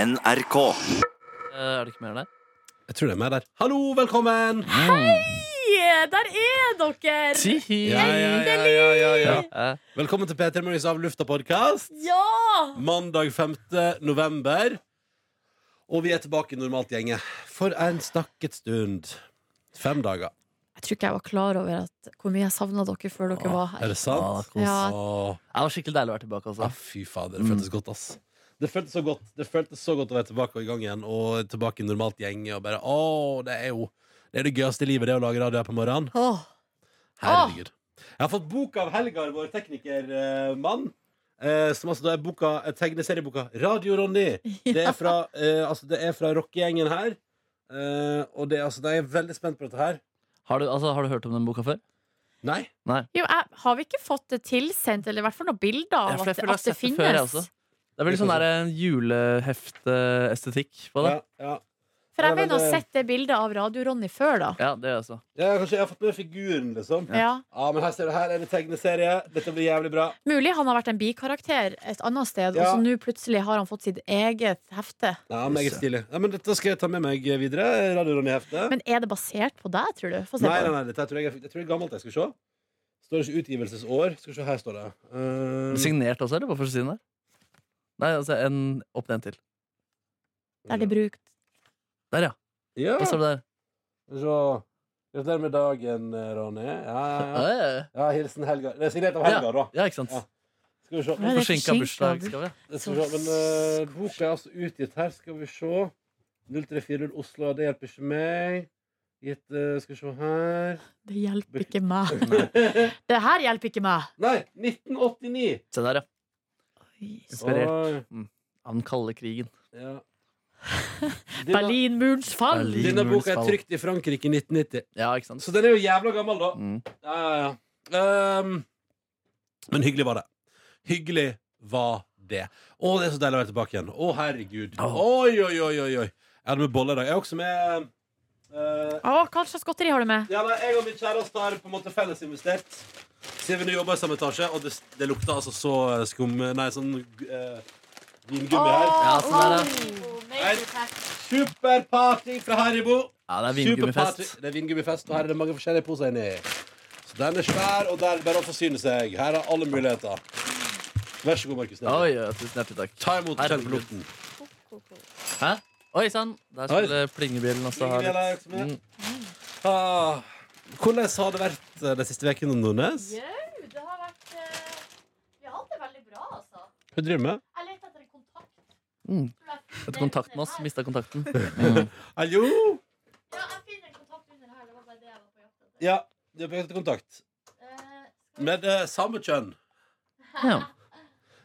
NRK. Eh, Er det ikke mer der? Jeg tror det er meg der. Hallo, velkommen! Yeah, der er dere! Ja, ja, ja, ja, ja, ja. Ja. Velkommen til P3 Morgens Av lufta-podkast. Ja! Mandag 5. november. Og vi er tilbake i normalt gjenge. For en snakket stund. Fem dager. Jeg tror ikke jeg var klar over at, hvor mye jeg savna dere før dere var Er her. det sant? kos. Ja. Åh, Det var skikkelig deilig å være tilbake. ja, Altså. fy fader, det føltes godt, ass. Det føltes så godt Det føltes så godt å være tilbake og i gang igjen og tilbake i normalt gjenge. Og bare, åh, det er jo Det er det gøyeste i livet, det å lage radio her på morgenen. Åh, Herregud. Jeg har fått bok av Helgar, vår teknikermann. Eh, som altså da er boka, eh, tegneserieboka Radio Ronny. Det er fra, eh, altså det er fra rockegjengen her. Eh, og det, er altså, da er jeg veldig spent på dette her. Har, du, altså, har du hørt om den boka før? Nei? Jo, jeg, har vi ikke fått det tilsendt, eller i hvert fall noen bilder Ja, av for jeg føler at, det- jeg har at det sett det før, jeg finnes? også. Det er veldig sånn der eh, juleheftestetikk på det. Ja, ja. For jeg Ja, men mener å ha det- sett det bildet av Radio-Ronny før, da. Ja, det gjør jeg også. ja, kanskje jeg har fått med figuren, liksom. Ja. Ja. men her ser du, her er det tegneserie. Dette blir jævlig bra. Mulig han har vært en bikarakter et annet sted, og Ja. så nå plutselig har han fått sitt eget hefte. Ja, Meget stilig. Ja, men Dette skal jeg ta med meg videre. Radio Ronny-heftet. Men er det basert på deg, tror du? Få se Nei, nei, på det. nei, dette her tror jeg, jeg fikk- jeg tror det er gammelt. Jeg skal se. Står det ikke utgivelsesår? Skal vi se, her står det. Mm. Eh, Signert også, eller? På forsiden der? Nei, altså en opp ned til. Der det er brukt. Der, ja. Ja. Hva står det der? Så Gratulerer med dagen, Ronny. Ja, ja, Ja, ja. ja, ja. ja hilsen Helga. Det er signert av Helga, da. ja ikke sant? Ja. Skal vi se. Ja, det er Forsinka forsinket bursdagsgave. Skal vi se. Men eh, boka er altså utgitt her. Skal vi se. 0340 Oslo, det hjelper ikke meg. Gitt, eh, skal vi se her Det hjelper ikke meg. det her hjelper ikke meg. Nei! 1989! Se der, ja. Inspirert Oi, av den kalde krigen. ja. Denne, Berlinmurens fall! Berlin- denne boka er trykt i Frankrike i 1990. Ja, ikke sant? Så den er jo jævla gammel, da. Mm. Ja, ja, ja. Ehm, men hyggelig var det. Hyggelig var det. Å, det er så deilig å være tilbake igjen. Å, herregud. Ja. Oi, oi, oi, oi. oi. Jeg hadde med boller i dag. Jeg er også med eh, Å, hva slags godteri har du med? ja, nei, Jeg og min kjæreste har på en måte fellesinvestert. Siden vi nå jobber i samme etasje, og det, det lukta altså så skum Nei, sånn eh, vingummi her. Ja, sånn der, Superparty fra Haribo. Ja, det er Superparty. vingummifest. Det er vingummifest, og her er det mange forskjellige poser inni. Så den er svær, og der er det bare å forsyne seg. Her er alle muligheter. Vær så god, Markus. Neby. Oi, ja, tusen hjertelig takk. Ta imot og kjenn på Herregud. lukten. Hæ? Oi sann! Der skulle plingebjellen også ha Ingen del av litt. dere som er- Mm. Ah, Hvordan har det vært eh, de siste ukene, Nordnes? Jau, det har vært eh, Vi har hatt det veldig bra, altså. Hva driver du med? Jeg leter etter en kontakt. Mm. Tror jeg finner Etter kontakt med oss. den her. Mista kontakten. Hallo? Ja, jeg finner en kontakt under her. Det var bare det jeg var på jakt etter. Ja, du har prøvd kontakt Eh, skal vi- med eh, samme kjønn. Ja.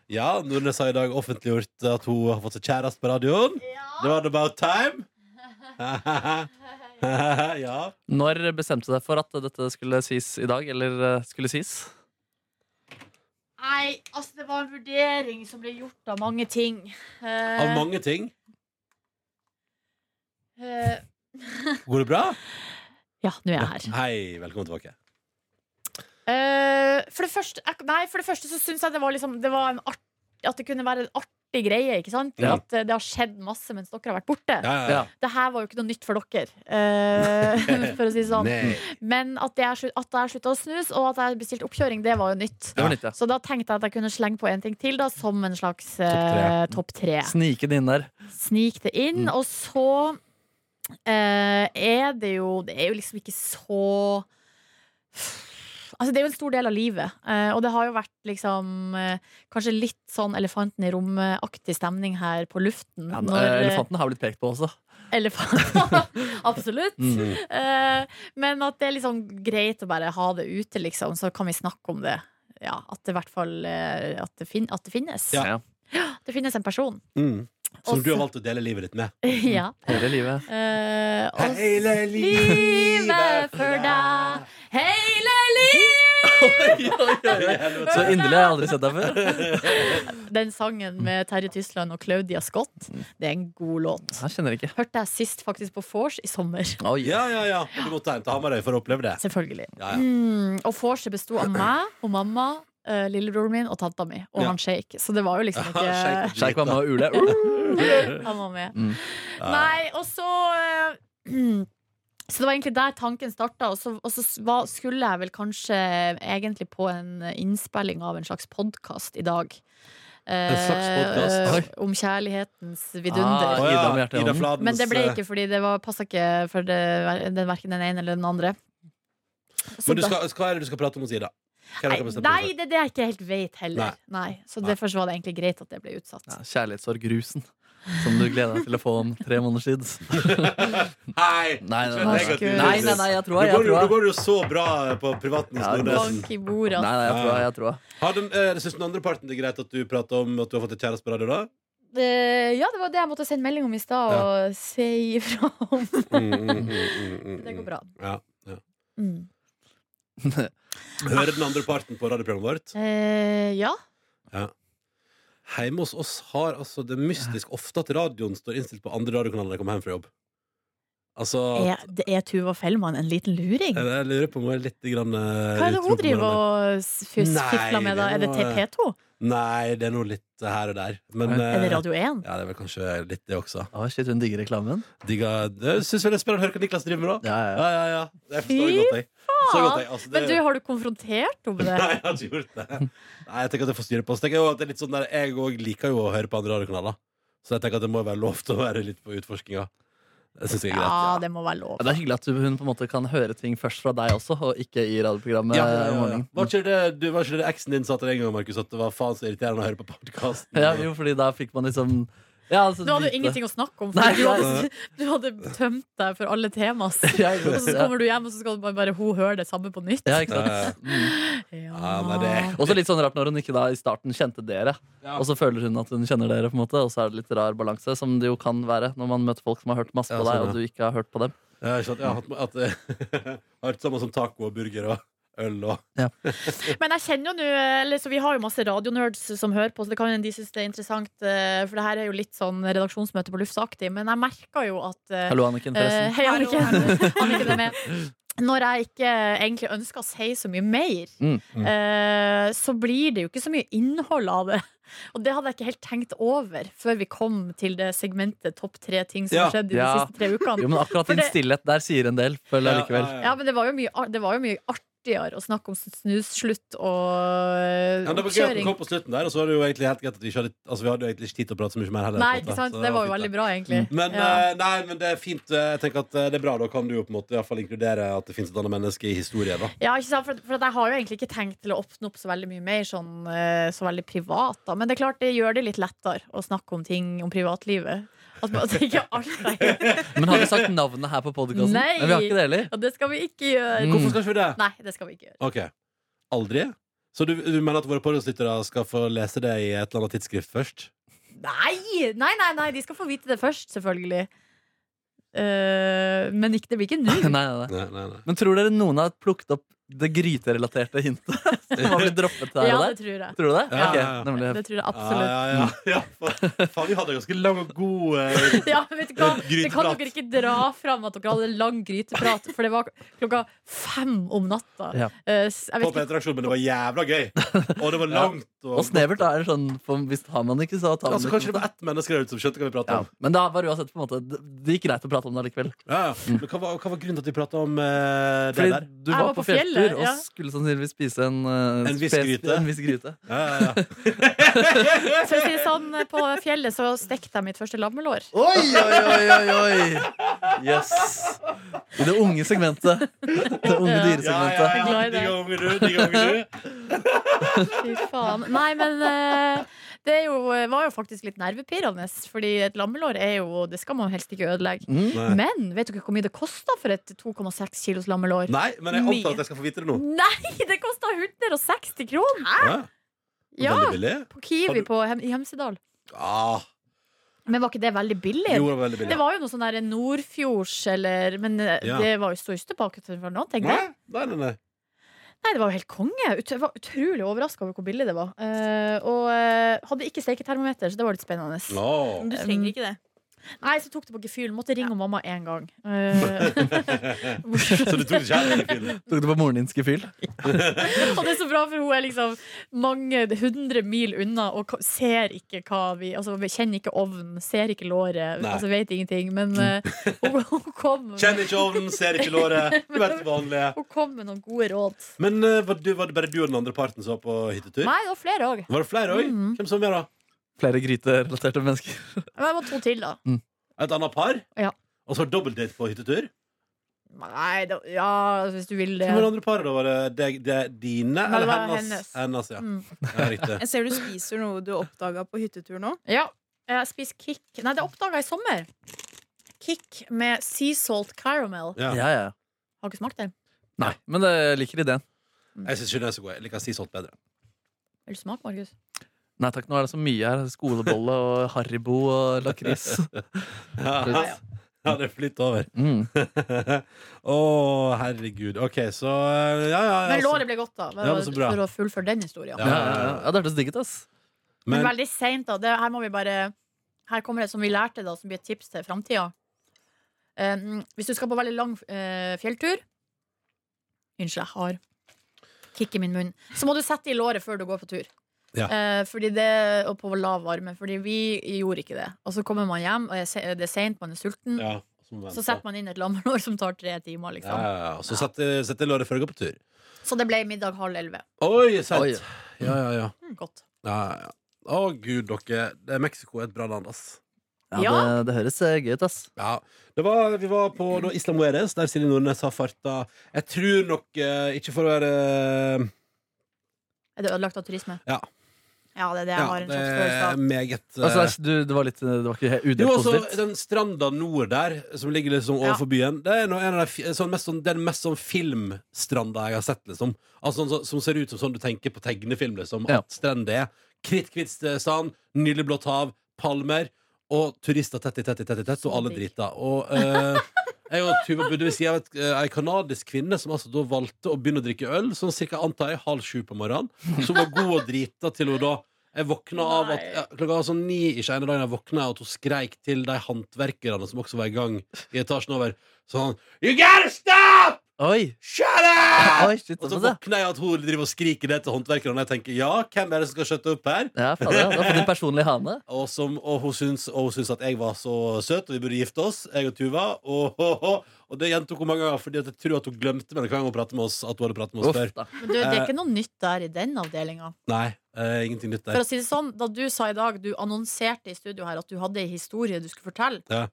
Ja, Nordnes har i dag offentliggjort at hun har fått seg kjæreste på radioen. Det var about time. ja. Når bestemte du deg for at dette skulle sies i dag? Eller eh, skulle sies? Nei, altså, det var en vurdering som ble gjort av mange ting. Eh, Av mange ting. eh, Går det bra? ja, nå er jeg her. Hei, velkommen tilbake. Eh, for, det første, jeg, nei, for det første så syns jeg det var, liksom, det var en art, at det kunne være en artig greie. Ikke sant? Ja. At eh, det har skjedd masse mens dere har vært borte. Ja, ja, ja. Det her var jo ikke noe nytt for dere, eh, for å si det sånn. Nei. Men at jeg, slu- at jeg slutta å snuse, og at jeg bestilte oppkjøring, det var jo nytt. Det var nytt, ja. Så da tenkte jeg at jeg kunne slenge på en ting til, da, som en slags eh, Topp topp tre. Snike det inn der. Snik det inn. Mm. Og så eh, er det jo Det er jo liksom ikke så Altså, det er jo en stor del av livet, eh, og det har jo vært liksom eh, kanskje litt sånn elefanten i rommet-aktig stemning her på luften. Ja, når, eh, eh, Elefanten har blitt pekt på også. elefant. Absolutt. Mm. Eh, men at det er liksom greit å bare ha det ute, liksom, så kan vi snakke om det. Ja, at det i hvert fall eh, at det, fin at det finnes. Ja. Det finnes en person. Mm. Som du Også- har valgt å dele livet ditt med. Mm. ja. Hele livet. Eh, og s- Hele livet for deg, hele livet Så inderlig har jeg aldri sett deg før. Den sangen med Terje Tysland og Claudia Scott, det er en god låt. Jeg kjenner ikke. Hørte jeg sist faktisk på Force i sommer. Oi. Ja, ja, ja. Du måtte hjem til Hamarøy for å oppleve det. Selvfølgelig. Ja, ja. Mm, og vorset besto av meg og mamma eh, lillebroren min og tanta mi og Ja. han sjeik. Så det var jo liksom ikke Sjeik var med og ule. Han var med. Mm. Nei, og så eh, Så det var egentlig der tanken starta, og så, og så s- var, skulle jeg vel kanskje egentlig på en innspilling av en slags podkast i dag. Eh, En slags podcast? om kjærlighetens Ah, Ida vidunder. med hjertet i hånden. Fladens Men det ble ikke fordi det var- passa ikke for det, den, verken den ene eller den andre. Så Men du da- skal, hva er det du skal prate om hos Ida? Hva er det dere Nei, bestemmer nei, for? det er det jeg ikke helt vet heller. Nei. Så Nei. derfor så var det egentlig greit at det ble utsatt. Ja, Kjærlighetssorgrusen. Som du gleder deg til å få om tre måneders tid. Nei! Nei, nei, Nei, nei, Herregud. nei, nei, nei, jeg Nå tror jeg. Jeg går, det jo- tror nå jeg. går det jo så bra eh, på privaten hos Ja, det går- Nordnesen. Bank i bordet, Nei, nei, jeg altså. tror jeg. jeg, tror jeg. Har den, eh, synes den andre parten det er greit at du prater om at du har fått et kjæreste på radio, da? Eh, Ja, det var det jeg måtte sende melding om i stad, og si ifra om. Mm, mm, mm, mm, mm, Det går mm. bra. Ja. Mm. Hører den andre parten på radioprogrammet vårt? Eh, ja. Hjemme hos oss har altså det mystisk ofte at radioen står innstilt på andre radiokanaler når jeg kommer hjem fra jobb. Altså Er, det er Tuva Fellmann en liten luring? jeg, jeg lurer på om hun er litt grann, eh, Hva er det utro hun på driver morgenen. og s- fus- Nei, fifler med, da? Er det det er noe- TP2? Nei, det er noe litt her og der. Men Er det eh, Radio 1? Ja, det er vel kanskje litt det også. Å, shit, hun digger reklamen. Digga Syns vel det er spennende å høre hva Niklas driver med, da. Ja, ja, ja. Ja, ja, ja. Det forstår jeg godt, jeg. Forstår jeg godt, jeg. Altså, det- Men du, har du konfrontert henne med Nei, det? jeg har ikke gjort det. Nei, Jeg tenker at jeg får styre på Så tenker Jeg jo at det er litt sånn der Jeg òg liker jo å høre på andre radiokanaler, så jeg tenker at det må være lov til å være litt på utforskinga. Det syns jeg er greit. Ja, det må være lov. Ja, det er hyggelig at du- hun på en måte kan høre ting først fra deg også, og ikke i radioprogrammet. Ja, ja, ja, om ja. morgenen. Var ikke det, du, var ikke det eksen din sa til deg en gang, Markus, at det var faen så irriterende å høre på podkasten? Ja, jo, fordi da fikk man liksom ja, altså, Du hadde jo lite- ingenting å snakke om, Nei, for du hadde, du hadde tømt deg for alle temas. Ja, Og så ja. kommer du hjem, og så skal man bare hun høre det samme på nytt. ja, ikke sant? Mm. Eh, Ja, nei, det- Også litt sånn rart når hun ikke da i starten kjente dere, Ja. og så føler hun at hun kjenner dere, på en måte og så er det litt rar balanse, som det jo kan være når man møter folk som har hørt masse Ja, på deg, sånn, ja. og du ikke har hørt på dem. Ja, ikke sant? Ja, at, at, at Samme som taco og burger og øl og Men jeg kjenner jo nå eller, så Vi har jo masse radionerds som hører på, så det kan hende de syns det er interessant. eh, For det her er jo litt sånn redaksjonsmøte på luftsaktig. Men jeg merker jo at eh, Hallo, Anniken, eh, forresten. Hei, Anniken. Anniken er med. Når jeg ikke egentlig ønsker å si så mye mer, Mm. eh, så blir det jo ikke så mye innhold av det. Og det hadde jeg ikke helt tenkt over før vi kom til det segmentet topp tre ting som Ja. har skjedd i de Ja. siste tre Jo, ukene. men akkurat For din det- stillhet der sier en del, føler jeg likevel. Ja, ja, Ja, ja. men det var jo mye, ar- det var jo mye artigere å snakke om snusslutt og Ja, men det var gøy at den oppkjøring. kom på slutten der, og så var det jo egentlig helt greit at vi ikke hadde Altså, vi hadde jo egentlig ikke tid til å prate så mye mer heller. på Nei, en ikke måte. sant? Så Det var jo fint, veldig bra, egentlig. Men, ja. eh, nei, men det er fint. eh, Jeg tenker at eh, det er bra. Da kan du jo på en måte i hvert fall inkludere at det finnes et annet menneske i historien. Da. ja, ikke sant? For, for at jeg har jo egentlig ikke tenkt til å åpne opp så veldig mye mer sånn, eh, så veldig privat, da. Men det er klart det gjør det litt lettere å snakke om ting om privatlivet. At man at ikke alt er Men har vi sagt navnet her på podkasten? Nei. Vi har ikke det heller. Og det skal vi ikke gjøre. Mm. Hvorfor skal ikke vi det? Nei, det skal vi ikke gjøre. Ok, Aldri? Så du, du mener at våre podkastlyttere skal få lese det i et eller annet tidsskrift først? Nei! Nei, nei, nei, de skal få vite det først, selvfølgelig. Eh, men ikke, det blir ikke nå. Nei, nei, nei. Nei, nei, nei. Men tror dere noen har plukket opp det gryterelaterte hintet som har blitt droppet der Ja, og det der? tror jeg. Tror du det? Ja, Ok, ja, ja. nemlig. Det tror jeg absolutt. Ah, Ja, ja, ja. ja fa- faen, vi hadde ganske lang og god eh, Ja, men vet du hva? Det kan Gryteprat. dere ikke dra fram at dere hadde lang gryteprat, for det var klokka fem om natta. Ja. Eh, s- jeg på vet ikke. interaksjon, men det var jævla gøy. Og det var Ja. langt. Og, Og snevert da er det sånn for Hvis har man ikke, så tar man Altså, ikke. kanskje det var ett menneske der ute som skjønte hva vi prata ja. om. Men da var uansett på en måte Det det gikk greit å prate om det likevel. Ja, ja. Men hva, var- hva var grunnen til at vi prata om eh, det Fordi der? du Jeg var, på fjelltur ja. og skulle sannsynligvis spise en eh, En viss spes- gryte. En viss gryte. Ja, ja, ja. For å si det sånn, på fjellet så stekte jeg mitt første lammelår. Oi, oi, oi, oi, oi. Yes. I det unge segmentet. Det unge Ja. dyresegmentet. Jeg er glad i det. Digga unge du, digga unge du. Fy faen. Nei, men eh, det er jo, var jo faktisk litt nervepirrende, fordi et lammelår er jo Det skal man helst ikke ødelegge. Mm. Nei. Men vet dere hvor mye det kosta for et 2,6 kilos lammelår? Nei, men jeg Mye. antar at jeg skal få vite det nå. Nei, det kosta 160 kroner! Ja. Ja, Veldig billig. på Har Kiwi du- på Hem i Hemsedal. Ah, Men var ikke det veldig billig? jo, det var veldig Det billig. var jo noe sånn der Nordfjords eller Men eh, Ja. det var jo står ikke tilbake til for noen, tenker Nei, jeg. nei, nei, nei. Nei, det var jo helt konge. Ut jeg var utrolig overraska over hvor billig det var. Eh, og eh, hadde ikke steketermometer, så det var litt spennende. Nå. Men Du trenger ikke det. Nei, så tok det på gefühl. Måtte ringe mamma én gang. Eh, Så du tok det ikke her hele tiden? Tok det på moren dins gefühl? og det er så bra, for hun er liksom mange hundre mil unna og ka- ser ikke hva vi Altså, vi kjenner ikke ovnen, ser ikke låret, Nei. altså vet ingenting. Men eh, hun, hun, kom, Kjenner ikke ovnen, ser ikke låret. Du vet det vanlige. hun kom med noen gode råd. Men eh, var, du, var det bare du og den andre parten som var på hyttetur? Nei, Mm. det var flere òg. Var det flere òg? Hvem som var med, da? Flere gryterelaterte mennesker. Men det var to til, da. Et annet par? Ja. Og så var det dobbeltdate på hyttetur? Nei, det, ja, altså, hvis du vil det. Hvem var det andre paret, da? Var det deg- det dine Nei, det eller var hennes? hennes. ja. Mm. ja. Riktig. Jeg ser du spiser noe du oppdaga på hyttetur nå. Ja. Jeg spiser Kick Nei, det oppdaga jeg i sommer. Kick med sea salt caramel. Ja. Ja, ja. Har ikke smakt det. Nei, men det- jeg liker ideen. Jeg syns ikke den er så god. Jeg liker si sånt bedre. Vil du smake, Markus? Nei takk, nå er det så mye her. Skolebolle og Haribo og lakris. Ja, ja. det flytter over. Mm. Å, herregud. OK, så eh, Ja, ja. Men altså. låret ble godt, da. Ja, men så bra. For å fullføre den historien. Ja, ja, ja. ja, det hørtes digg ut, ass. Men, Men veldig seint, da. Det, her må vi bare Her kommer det som vi lærte, da, som blir et tips til framtida. Um, hvis du skal på veldig lang eh, fjelltur Unnskyld, jeg har kick i min munn. Så må du sette det i låret før du går på tur. Ja. Eh, fordi det, og på lav varme. Fordi vi gjorde ikke det. Og så kommer man hjem, og er se- det er seint, man er sulten. ja, så, må vi Så vente. setter man inn et lammelår som tar tre timer. ja, Liksom. ja, ja. Så setter setter låret før jeg går på tur. Så det ble middag halv elleve. Oi, Oi. sant. Ja, ja, ja. Godt. ja, ja. Å, gud, dere. Det er Mexico er et bra land, ass. Ja, Ja. Det, det høres eh, gøy ut, ass. Ja, det var, Vi var på da, Isla Mujeres, der Silje Nordnes har farta Jeg tror nok eh, Ikke for å være eh, Er det ødelagt av turisme? Ja. Ja, det er det jeg ja, har en Det slags følelse er av. meget Altså, eh, æsj, du, det var litt eh, Det var ikke helt jo, altså, udelt Den stranda nord der, som ligger liksom Ja. overfor byen, det er, noe, en av de, fi- sånn, mest, sånn, den mest sånn filmstranda jeg har sett. Liksom. Altså, sånn, som- som ser ut som sånn du tenker på tegnefilm. Liksom, Ja. At strender er kritthvitt sand, nydelig blått hav, palmer og turister tett i tett i tett, i tett og alle Digg. drita. Og eh, jeg og Tuva bodde ved siden av et- eh, ei kanadisk kvinne som altså da valgte å begynne å drikke øl sånn cirka antar jeg halv sju på morgenen. Som var god og drita til hun da jeg våkna av at Nei. ja, klokka var sånn ni ikke ene dagen jeg våkna av at hun skreik til de håndverkerne som også var i gang i etasjen over, sånn You gotta stop! Oi! Shut up! Oi, Sånn, shit, altså, det Og så var det. våkner jeg at hun driver og skriker det til håndverkerne, og jeg tenker ja, hvem er det som skal skjøtte opp her? Ja, fader, ja. Du har fått din personlige hane. Og, som, og, hun syns, og hun syns at jeg var så søt, og vi burde gifte oss. Jeg og Tuva. Og, og, og, og det gjentok hun mange ganger, Fordi at jeg tror at hun glemte meg hver gang hun pratet med oss. At hun hadde pratet med oss Uff, før da. Men du, det er ikke noe nytt der i den avdelinga. Eh, Nei, eh, ingenting nytt For der. å si det sånn, da du sa i dag, du annonserte i studio her at du hadde ei historie du skulle fortelle, Ja.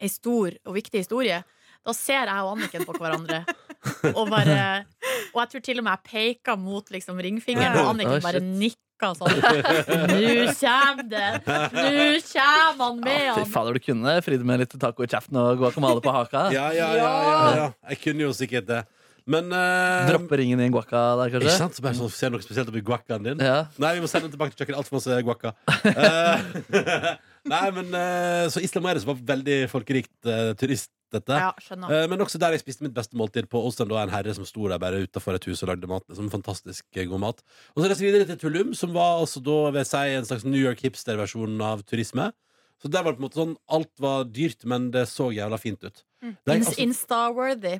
ei stor og viktig historie, da ser jeg og Anniken på hverandre. Og bare Og jeg tror til og med jeg peka mot liksom ringfingeren, og Å, Anniken bare shit. nikka sånn. Nå kjem det! Nå kjem han med Fy han! fader, du kunne fridd med litt taco i kjeften og guacamole på haka. Ja, ja, ja, ja, ja. Jeg kunne jo sikkert det. Men eh, Droppe ringen i en guaca der, Ikke kanskje. sant? Så bare sånn, ser noe spesielt oppi guacaen din. Ja. Nei, vi må sende den tilbake til kjøkkenet. Altfor masse guacca. Eh, nei, men eh, Så Isla Mujeres var veldig folkerikt eh, turist, dette. Ja, skjønner. Eh, Men også der jeg spiste mitt beste måltid på Åsen. Da en herre som sto der bare utenfor et hus og lagde mat. Liksom fantastisk eh, god mat. Og så reiste vi videre til Tulum, som var altså da vil jeg si, en slags New York hipster-versjon av turisme. Så der var det på en måte sånn Alt var dyrt, men det så jævla fint ut. Der, Ins- altså, Insta-worthy.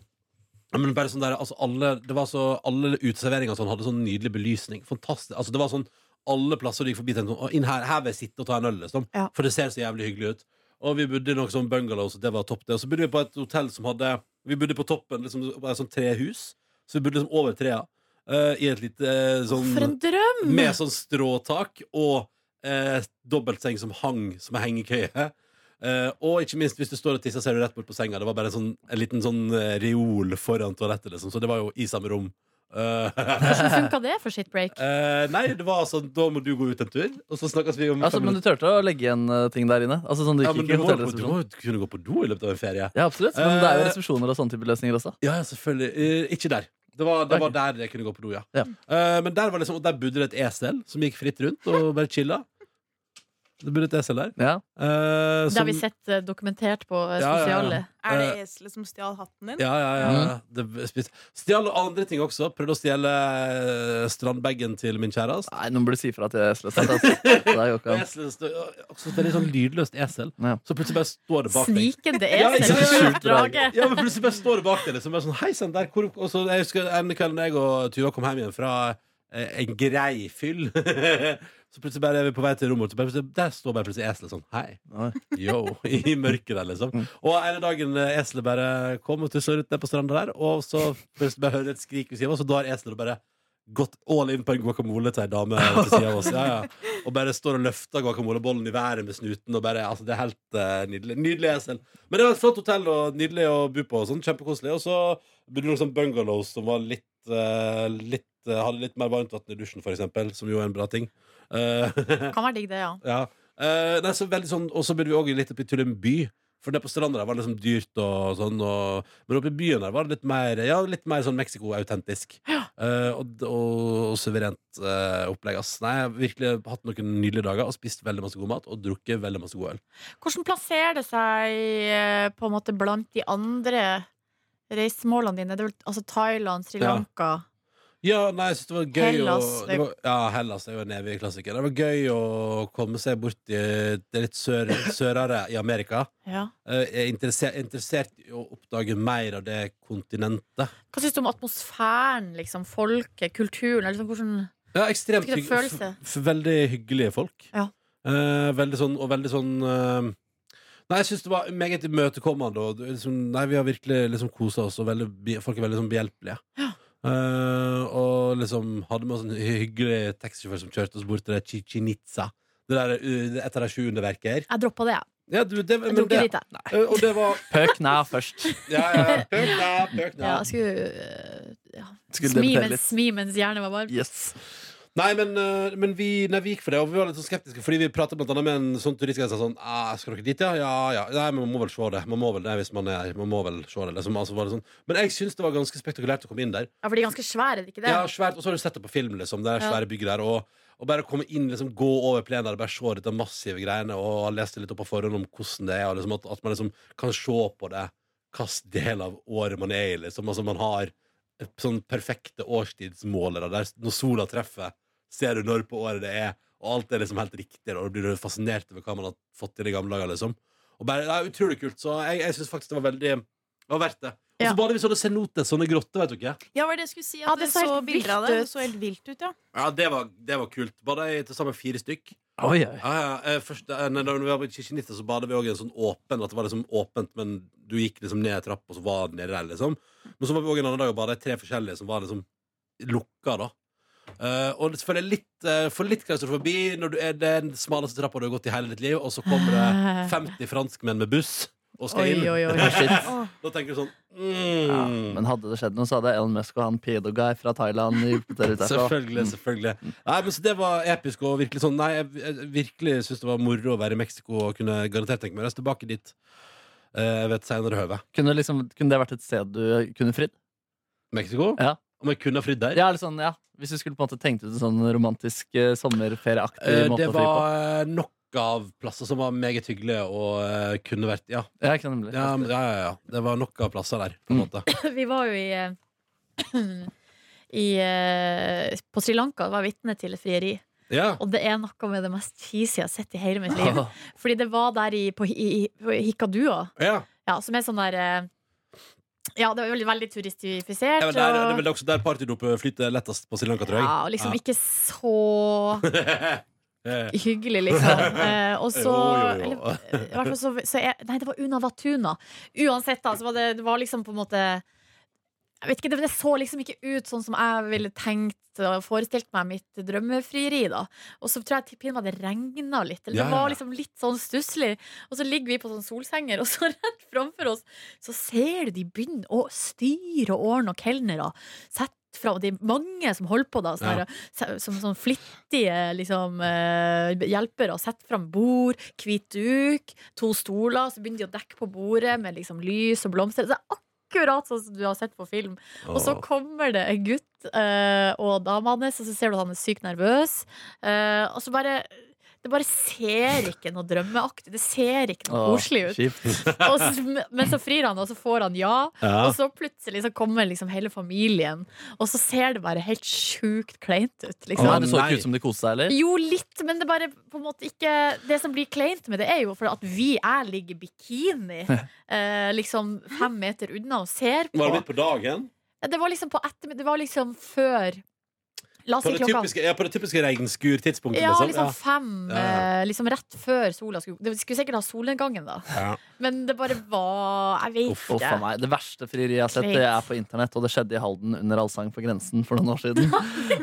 ja, men bare sånn der, altså alle, det var så, alle uteserveringer og sånn, hadde sånn nydelig belysning. Fantastisk. Altså, det var sånn alle plasser du gikk forbi, tenkte sånn, «Å, inn her, her vil jeg sitte og ta en øl, liksom. Ja. For det ser så jævlig hyggelig ut. Og vi bodde i noe sånn bungalow, så det var topp, det. Og så bodde vi på et hotell som hadde Vi bodde på toppen, liksom, på et sånt trehus. Så vi bodde liksom over trea. eh, I et lite eh, sånn For en drøm! Med sånn stråtak og eh, dobbeltseng som hang som en hengekøye. Eh, og ikke minst hvis du står og tisser, ser du rett bort på senga. Det var bare en, sånn, en liten sånn eh, reol foran toalettet, liksom. Så det var jo i samme rom. Eh, Hvordan funka det for shitbreak? eh, nei, det var sånn Da må du gå ut en tur, og så snakkes vi om Altså, fem men du turte å legge igjen eh, ting der inne? Altså, sånn du minutter. gikk ja, men du, ikke i må, jo- du må hotellresepsjonen? jo kunne gå på do i løpet av en ferie. Ja, absolutt. Men det er jo Eh, resepsjoner og sånne type løsninger også. Ja, ja, selvfølgelig. Eh, ikke der. Det var, det var Ok. der jeg kunne gå på do, ja. Ja. Eh, men der, var liksom, og der bodde det et esel som gikk fritt rundt og bare chilla. Det burde et esel der. Ja. Eh, Det har vi sett eh, dokumentert på eh, Ja, ja, ja. sosiale. Er det eselet som stjal hatten din? Ja, ja, ja. Det spiste- Stjal og andre ting også. Prøvde å stjele eh, strandbagen til min kjæreste. Nei, noen burde si fra til eselet. sitt, Altså. Det er jo ikke han. Eselet stø- Også Det er litt sånn lydløst esel. Ja. Så plutselig bare står det bak deg. Snikende Ja, ja, ja, esel ja. i skjultdraget. Ja, men plutselig bare står det bak deg liksom. Bare sånn, Hei, sann, der hvor Og så jeg husker en kveld da jeg og Tuva kom hjem igjen fra eh, en grei fyll Så plutselig bare er vi på vei til rommet og så bare plutselig- Der står bare plutselig eselet sånn Hei, Nei. yo, i mørket der liksom Og en dagen eh, eselet bare kom og tusset ut ned på stranda der Og så plutselig bare hører jeg et skrik ved siden av oss Og da har eselet bare gått all in på en guacamole til en dame til siden av oss ja, ja. Og bare står og løfter guacamolebollen i været med snuten Og bare, altså det er helt eh, nydelig Nydelig esel men det var et flott hotell og nydelig å bo på. og sånn, Kjempekoselig. Og så bodde det noen sånn bungalows som var litt, eh, litt eh, hadde litt mer varmt vann i dusjen, for eksempel, som jo er en bra ting. Eh, Kan være digg, det, ja. ja. Eh, nei, så veldig sånn, Og så bodde vi òg litt oppe i Tulum by. For det på stranda der var det liksom dyrt og sånn. Og, men oppe i byen der var det litt mer Ja, litt mer sånn Mexico-autentisk. Eh, og, og, og suverent eh, opplegg. ass. Nei, jeg har virkelig hatt noen nydelige dager og spist veldig masse god mat og drukket veldig masse god øl. Hvordan plasserer det seg eh, på en måte blant de andre reisemålene dine? Det er vel, altså Thailand, Sri Ja. Lanka. Ja, nei, jeg synes det var gøy Hellas, å, det var, Ja, Hellas er jo en evig klassiker Det var gøy å komme seg bort i Det litt sør, sørere i Amerika Ja. Eh, Jeg er interessert, interessert i å oppdage mer av det kontinentet Hva syns du om atmosfæren, liksom, folket, kulturen? Eller liksom, hvordan Ja, ekstremt Fikk det hygg- følelse? f- f- Veldig hyggelige folk Ja. Eh, Veldig sånn, og veldig sånn eh, Nei, jeg synes det var meget imøtekommende og det- liksom, Nei, vi har virkelig liksom koset oss Og veldig, bi- folk er veldig sånn behjelpelige Eh, og liksom hadde med oss en hy- hyggelig taxisjåfør som kjørte oss bort til det Chichinitza. Det der, uh, det- et av de sju underverker. Jeg droppa det, jeg. Ja, du, det, men Jeg dro ikke det- dit, jeg. eh, og det var Pøk nær først. Ja, ja. Pøk, da, pøk, Ja, da. jeg skulle eh, ja. Skulle smi, debutere mens, litt. smi mens hjernen var varm. Yes. Nei, men, eh, men vi, nei, vi gikk for det, og vi var litt sånn skeptiske, fordi vi pratet blant annet med en sånn turist som sa sånn ah, 'Skal dere dit, ja?' Ja, ja. Nei, men man må vel se det. Man må vel det hvis man er Man må vel se det. Liksom. Altså, var det sånn. Men jeg syns det var ganske spektakulært å komme inn der. Ja, for de er ganske svære, er de ikke det? Ja, svært, og så har du sett det på film, liksom, det der Ja. svære bygget der. Og, og bare komme inn, liksom, gå over plenen der og bare se dette massive greiene. Og leste litt opp på forhånd om hvordan det er, og liksom, at, at man liksom kan se på det hvilken del av året man er i. Liksom. Altså, man har et sånn perfekte årstidsmålere der når sola treffer, ser du når på året det er, og alt er liksom helt riktig, og da blir du fascinert over hva man har fått til i gamle dager, liksom. Og bare, det er utrolig kult, så jeg, jeg syns faktisk det var veldig Det var verdt det. Og så Ja. bader vi sånne cenotes, sånne grotter, vet du ikke. Ja, hva var det jeg skulle si? At Ja, det så, helt bilder av vilt det. ut. Det så helt vilt ut, ja. Ja, det var, det var kult. Bada i til sammen fire stykk. Oi, oi. Ja, ja, eh, først, eh, nei, da vi var på Kirkenitsa, så bada vi òg i en sånn åpen At det var liksom åpent, men du gikk liksom ned ei trapp, og så var det nede der, liksom. Men så var vi òg en annen dag og bada i tre forskjellige som var liksom lukka, da. Eh, og det selvfølgelig litt, eh, for litt klaustrofobi når du er den smaleste trappa du har gått i hele ditt liv, og så kommer det 50 franskmenn med buss og skal Oi, inn. oi, oi. Oh, shit. Åh, Da tenker du sånn Ja, mm. men hadde det skjedd noe, så hadde Elon Musk og han pedoguy fra Thailand hjulpet dere ut derfra. Selvfølgelig, selvfølgelig. Nei, men så Det var episk og virkelig sånn Nei, jeg, jeg virkelig syns det var moro å være i Mexico og kunne garantert tenke meg å reise tilbake dit eh, ved et senere høve. Kunne, liksom, kunne det vært et sted du kunne fridd? Mexico? Ja. Om jeg kunne ha fridd der? Ja, eller sånn, ja. Hvis du skulle på en måte tenkt ut en sånn romantisk eh, sommerferieaktig Eh, måte det å fri på. var eh, nok av plasser som var meget hyggelige og eh, kunne vært Ja, Ja, ikke nemlig. ja, men- ja, ja, ja. Det var nok av plasser der, på en Mm. måte. Vi var jo i, eh, i eh, På Sri Lanka var jeg vitne til et frieri. Ja. Og det er noe med det mest cheesy jeg har sett i hele mitt liv. Fordi det var der i, på, i, i- på Hikadua, ja. ja, som er sånn der eh, Ja, det er veldig, veldig turistifisert. ja men der, det er og- vel også der partydopet flyter lettest på Sri Lanka, tror jeg. ja, og liksom ikke så Eh, hyggelig, liksom. Eh, og så Jo, jo, jo. eller, eh, I hvert fall så, så er, Nei, det var Una Vatuna. Uansett, da, så var det, det var liksom på en måte Jeg vet ikke, det, det så liksom ikke ut sånn som jeg ville tenkt og forestilt meg mitt drømmefrieri, da. Og så tror jeg til pinadø det regna litt. Eller Ja, det ja, ja. var liksom litt sånn stusslig. Og så ligger vi på sånn solsenger, og så rett framfor oss så ser du de begynner å styre og ordne og kelnere. Sett fra, og det er mange som holder på da, sånn Ja. her, se- som sånn flittige liksom, eh, hjelpere. Sett fram bord, hvit duk, to stoler, så begynner de å dekke på bordet med liksom, lys og blomster. Det er akkurat sånn som du har sett på film. Og så kommer det en gutt eh, og dama hans, og så ser du at han er sykt nervøs. Eh, og så bare Det bare ser ikke noe drømmeaktig. Det ser ikke noe Åh, koselig ut. Kjipt. Og så, men så frir han, og så får han ja. Ja. Og så plutselig så kommer liksom hele familien, og så ser det bare helt sjukt kleint ut. Å, Liksom. det så Nei. ikke ut som de koste seg, eller? Jo, litt, men det bare på en måte ikke Det som blir kleint med det, er jo for at vi, jeg ligger i bikini eh, liksom fem meter unna og ser på. Var det midt på dagen? Det var liksom på ettermiddag, det var liksom før La oss På si det Altså, klokka typiske, ja, på det typiske regnskur-tidspunktet, ja, liksom? liksom fem, Ja, ja. eh, liksom rett før sola skulle Det skulle sikkert ha solnedgangen, da. Ja. Men det bare var Jeg vet Uff, uff, ikke. faen meg. Det verste frieriet jeg har sett, det er på internett, og det skjedde i Halden under Allsang på grensen for noen år siden.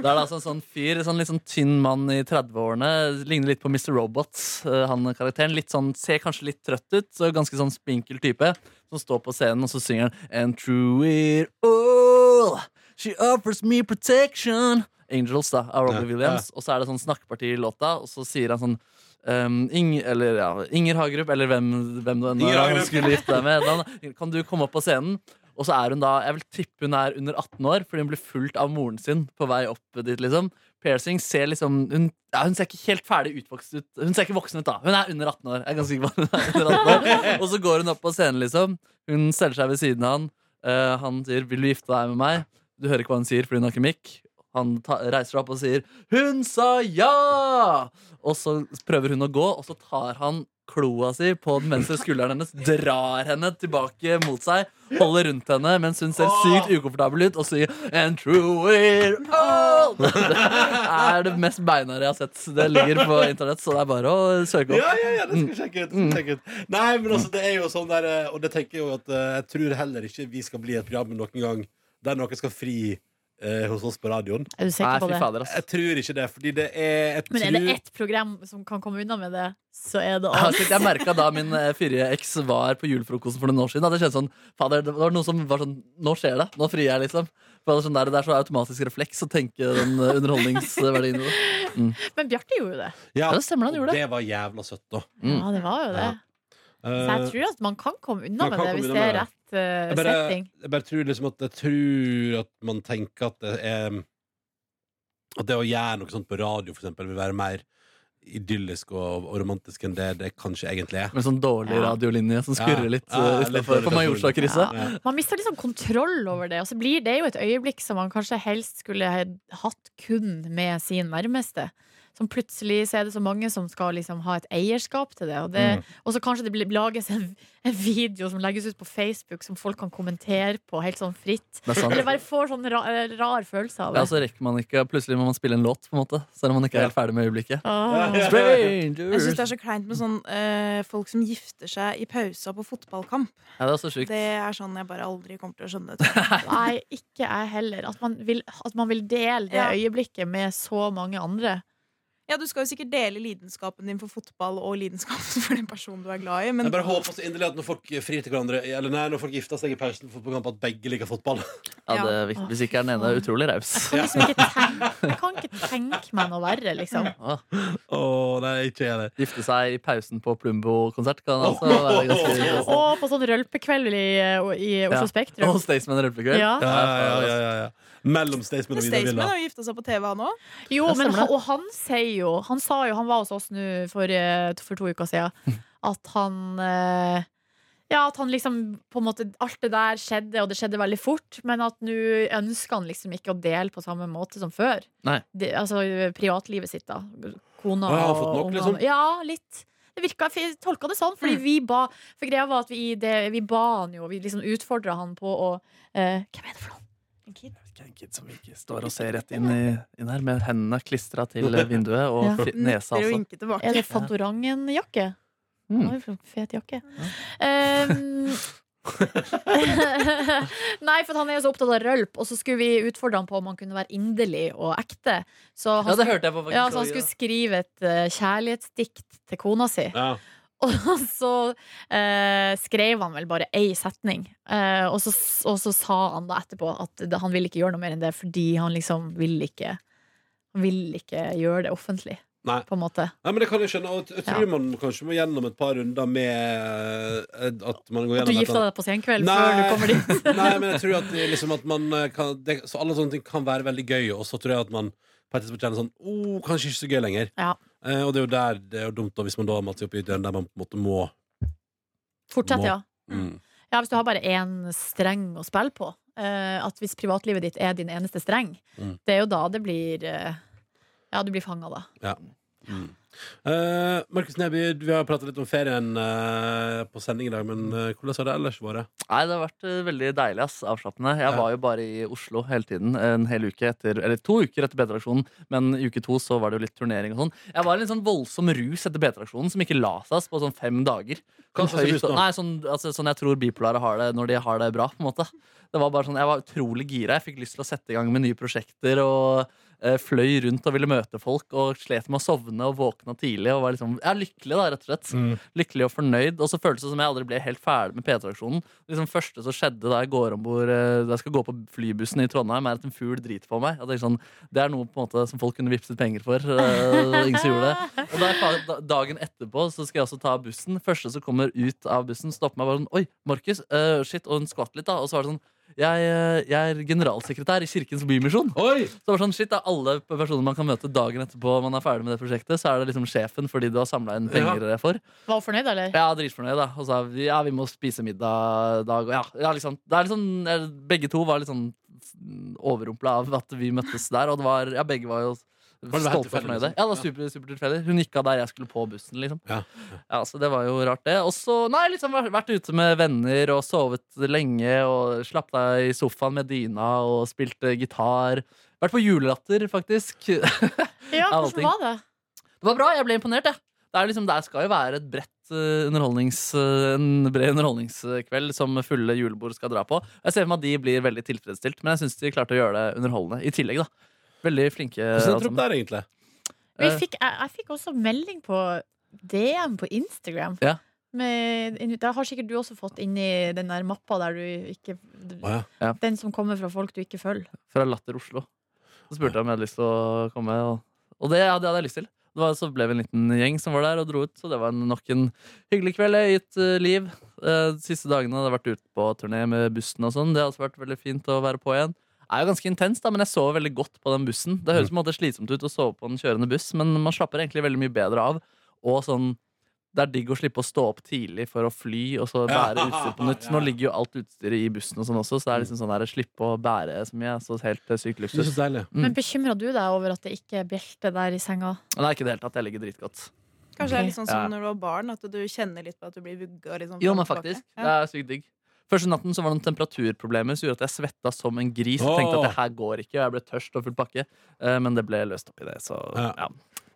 Da er det altså en sånn fyr, en sånn litt sånn tynn mann i 30-årene, ligner litt på Mr. Robots, eh, han karakteren. Litt sånn, ser kanskje litt trøtt ut, så ganske sånn spinkel type, som står på scenen, og så synger han And through it all, she offers me protection. Angels, da, av Robbie Ja, Williams. Og så er det sånn snakkeparti i låta, og så sier han sånn Um, Ing, eller, ja, Inger Hagerup, eller hvem, hvem du ennå Inger er han Hagerup. skulle gifte deg med. Da, kan du komme opp på scenen? Og så er hun da, jeg vil tippe hun er under 18 år, fordi hun blir fulgt av moren sin på vei opp dit. liksom Piercing ser liksom Hun, ja, hun ser ikke helt ferdig utvokst ut. Hun ser ikke voksen ut, da. Hun er under 18 år. Jeg er ganske sikker på at hun er under 18 år Og så går hun opp på scenen, liksom. Hun steller seg ved siden av han. Eh, han sier 'Vil du gifte deg med meg?' Du hører ikke hva hun sier, fordi hun har ikke mikk. Han ta, reiser seg opp og sier 'Hun sa ja!' Og så prøver hun å gå, og så tar han kloa si på den venstre skulderen hennes, drar henne tilbake mot seg, holder rundt henne mens hun ser sykt ukomfortabel ut, og sier And true we're all Det er det mest beinharde jeg har sett. Det ligger på internett, så det er bare å søke opp. Ja, ja, ja, det skal vi sjekke ut. det skal vi sjekke ut. Nei, men altså, det er jo sånn der eh, Og det tenker jeg jo at eh, jeg tror heller ikke vi skal bli et program noen gang der noen skal fri eh, hos oss på radioen. Er Nei, du sikker på fy det? fader, ass. Jeg tror ikke det, fordi det er Jeg Men er det tror ett program som kan komme unna med det, så er det Ja, oss. shit, Jeg merka da min eh, forrige eks var på julefrokosten for noen år siden. at Det skjedde sånn, fader, det var noen som var sånn Nå skjer det. Nå frier jeg, liksom. For det er sånn der, det er så automatisk refleks å tenke den eh, underholdningsverdien i det. Men Bjarte gjorde jo det. ja, Ja, det stemmer, han og gjorde det. det var jævla søtt, da. Mm. Ja, det var jo det. Ja. Så jeg tror at man kan komme man unna med kan det, komme hvis unna det er med det. rett eh, Jeg bare, setting. jeg bare tror liksom at Jeg tror at man tenker at det er At det å gjøre noe sånt på radio for eksempel, vil være mer idyllisk og, og romantisk enn det det kanskje egentlig er. Med sånn dårlig Ja. radiolinje som skurrer Ja. litt Ja, eh, litt utenfor dårlig på Majorstad-krysset. Ja. Man mister liksom kontroll over det, og så blir det jo et øyeblikk som man kanskje helst skulle he- hatt kun med sin nærmeste. Som plutselig så er det så mange som skal liksom ha et eierskap til det. Og, det, og så kanskje det blir, lages en, en video som legges ut på Facebook som folk kan kommentere på helt sånn fritt. Det er sant. Eller bare får sånn ra, rar følelse av Ja, det. så rekker man ikke Plutselig må man spille en låt, på en måte selv om man ikke er helt ferdig med øyeblikket. Åh. Ja. Jeg Strangers syns det er så kleint med sånn eh, folk som gifter seg i pauser på fotballkamp. Ja, det er også sjukt. Det er sånn jeg bare aldri kommer til å skjønne. tror jeg. Nei, ikke jeg heller. At man vil, at man vil dele det Ja. øyeblikket med så mange andre. Ja, Du skal jo sikkert dele lidenskapen din for fotball og lidenskapen for den personen du er glad i, men Jeg bare håper så inderlig at når folk frir til hverandre Eller nei, når folk gifter seg i pausen på fotballkamp, at begge liker fotball. Ja, det er viktig. Hvis ikke er den ene utrolig raus. Kan liksom ikke tenke, jeg kan ikke tenke meg noe verre, liksom. Ja. Åh, nei, ikke jeg det. Gifte seg i pausen på Plumbo-konsert kan altså være ganske interessant. Og på sånn rølpekveld i, eh, i Oslo Ja. Spektrum. Og Staysman Rølpekveld. Ja. Ja, altså. ja, ja, ja, ja. Mellom Staysman og Men Vidar Villa. Staysman har jo gifta seg på TV, han òg. Ja, Jo, men, stemmer han- det. og han sier jo Han sa jo, han var hos oss nå for, eh, for to uker siden, Hm. at han eh, Ja, at han liksom på en måte Alt det der skjedde, og det skjedde veldig fort, men at nå ønsker han liksom ikke å dele på samme måte som før. Nei. Det- altså privatlivet sitt, da. Kona Å, ja, han har og fått nok, ungene. liksom? Hm. Ja, litt. Det virka, jeg tolka det sånn, fordi vi ba For greia var at vi, i det, vi ba han jo, vi liksom utfordra han på å eh, Hvem er det for noen? En kid? Det er En kid som ikke står og ser rett inn, i, inn her med hendene klistra til vinduet og Ja. fi- nesa. Nekter å Altså. vinke tilbake. Er det Fantorangen-jakke? Mm. Oi, for en fet jakke. Ehm, Nei, for han er jo så opptatt av rølp, og så skulle vi utfordre han på om han kunne være inderlig og ekte. Så han, Ja, det hørte jeg på, skulle- faktisk. ja, så han skulle skrive et eh, kjærlighetsdikt til kona si. Ja. Og så eh, skrev han vel bare ei setning. Eh, og, så, og så sa han da etterpå at det- han ville ikke gjøre noe mer enn det fordi han liksom vil ikke Han vil ikke gjøre det offentlig, Nei. på en måte. Nei, men det kan jeg skjønne. Og jeg tror Ja. man kanskje må gjennom et par runder med eh, at man går At du gjennom et gifta eller annet. deg på senkveld Nei. før du kommer dit. Nei, men jeg tror at, det liksom, at man eh, kan, det, Så alle sånne ting kan være veldig gøy, og så tror jeg at man på et tidspunkt kjenner sånn oh, Kanskje ikke så gøy lenger. Ja. Eh, og det er jo der det er jo dumt da, hvis man da har matt seg opp i den der man på en måte må Fortsett, Må- ja. mm. ja. Hvis du har bare én streng å spille på. eh, at hvis privatlivet ditt er din eneste streng, Mm. det er jo da det blir eh, Ja, du blir fanga da. Eh, Markus Neby, vi har pratet litt om ferien eh, på sending i dag, men eh, hvordan har det ellers vært? Nei, det har vært eh, veldig deilig, ass. Avslappende. Jeg Ja. var jo bare i Oslo hele tiden. eh, En hel uke etter, eller to uker etter B-traksjonen. Men i uke to så var det jo litt turnering og sånn. Jeg var i en sånn voldsom rus etter B-traksjonen som ikke la seg ass, på sånn fem dager. Hva Sånn slags rus høyt- da? Nei, sånn, altså, sånn jeg tror bipolare har det når de har det bra, på en måte. Det var bare sånn, Jeg var utrolig gira. Jeg fikk lyst til å sette i gang med nye prosjekter og eh, fløy rundt og ville møte folk og slet med å sovne og våkna tidlig og var liksom ja, lykkelig, da, rett og slett Mm. lykkelig og fornøyd. Og så føltes det som jeg aldri ble helt ferdig med P3-aksjonen. Liksom første som skjedde da jeg går ombord eh, Da jeg skal gå på flybussen i Trondheim, er at en fugl driter på meg. Jeg tenker sånn, det er noe på en måte som folk kunne vippset penger for. eh, og ingen som gjorde det. Og da jeg, fa- da- dagen etterpå så skal jeg også ta bussen. Første som kommer ut av bussen, stopper meg bare sånn Oi, Markus. eh, shit. Og hun skvatt litt, da. Og så var det sånn jeg, eh, jeg er generalsekretær i Kirkens Bymisjon. Oi! Så det var sånn, shit, da, Alle personer man kan møte dagen etterpå man er ferdig med det prosjektet, så er det liksom sjefen fordi du har samla inn penger for. Var hun fornøyd, eller? Ja, dritfornøyd, da. Og sa vi, ja, vi må spise middag i dag. Og ja, ja, liksom, det er liksom, eh, begge to var litt sånn overrumpla av at vi møttes der. Og det var, ja, begge var jo det helt stolte og tilfeldig, fornøyde. liksom? Ja, det var super, super tilfeldig. Hun gikk av der jeg skulle på bussen, liksom. Ja. Ja, Så det var jo rart, det. Og så, nei, liksom vært- vært ute med venner og sovet lenge og slapp deg i sofaen med dyna og spilte gitar. Vært på julelatter, faktisk. Ja, Av hvordan allting. var det? Det var bra, jeg ble imponert, jeg. Det, er liksom, det skal jo være et bredt eh, underholdnings, eh, en bred underholdningskveld som fulle julebord skal dra på. Jeg ser for meg at de blir veldig tilfredsstilt, men jeg syns de klarte å gjøre det underholdende i tillegg. da. Veldig flinke. alt Hvordan er det opp sammen. der, egentlig? Vi Eh. fikk, jeg, jeg fikk også melding på DM på Instagram. Ja. Med, det har sikkert du også fått inn i den der mappa der du ikke Å, ja. Den som kommer fra folk du ikke følger. Fra Latter Oslo. Så spurte jeg om jeg hadde lyst til å komme, og, og det, ja, det hadde jeg lyst til. Det var, så ble vi en liten gjeng som var der og dro ut, så det var en- nok en hyggelig kveld i et eh, liv. Eh, De siste dagene hadde jeg vært ute på turné med bussen og sånn. Det har også vært veldig fint å være på igjen. Det er jo ganske intens, da, men jeg sov veldig godt på den bussen. Det høres på en måte slitsomt ut å sove på en kjørende buss, men man slapper egentlig veldig mye bedre av. Og sånn, Det er digg å slippe å stå opp tidlig for å fly og så bære utstyr på nytt. Nå ligger jo alt utstyret i bussen og sånn også, så det er liksom sånn der, slippe å bære så mye. Så helt eh, sykt Det er luksus. så deilig. Mm. Men bekymra du deg over at det ikke er bjelte der i senga? Men det er ikke i det hele tatt. Jeg ligger dritgodt. Kanskje det er litt sånn som Ja. når du var barn, at du kjenner litt på at du blir vugga. Jo, Liksom, fram men og tilbake. faktisk. Det Ja. er sykt digg. Første natten så var det noen temperaturproblemer som gjorde at jeg svetta som en gris. Åh. Og tenkte at det her går ikke, og jeg ble tørst og full pakke. Eh, Men det ble løst opp i det, så ja. Ja.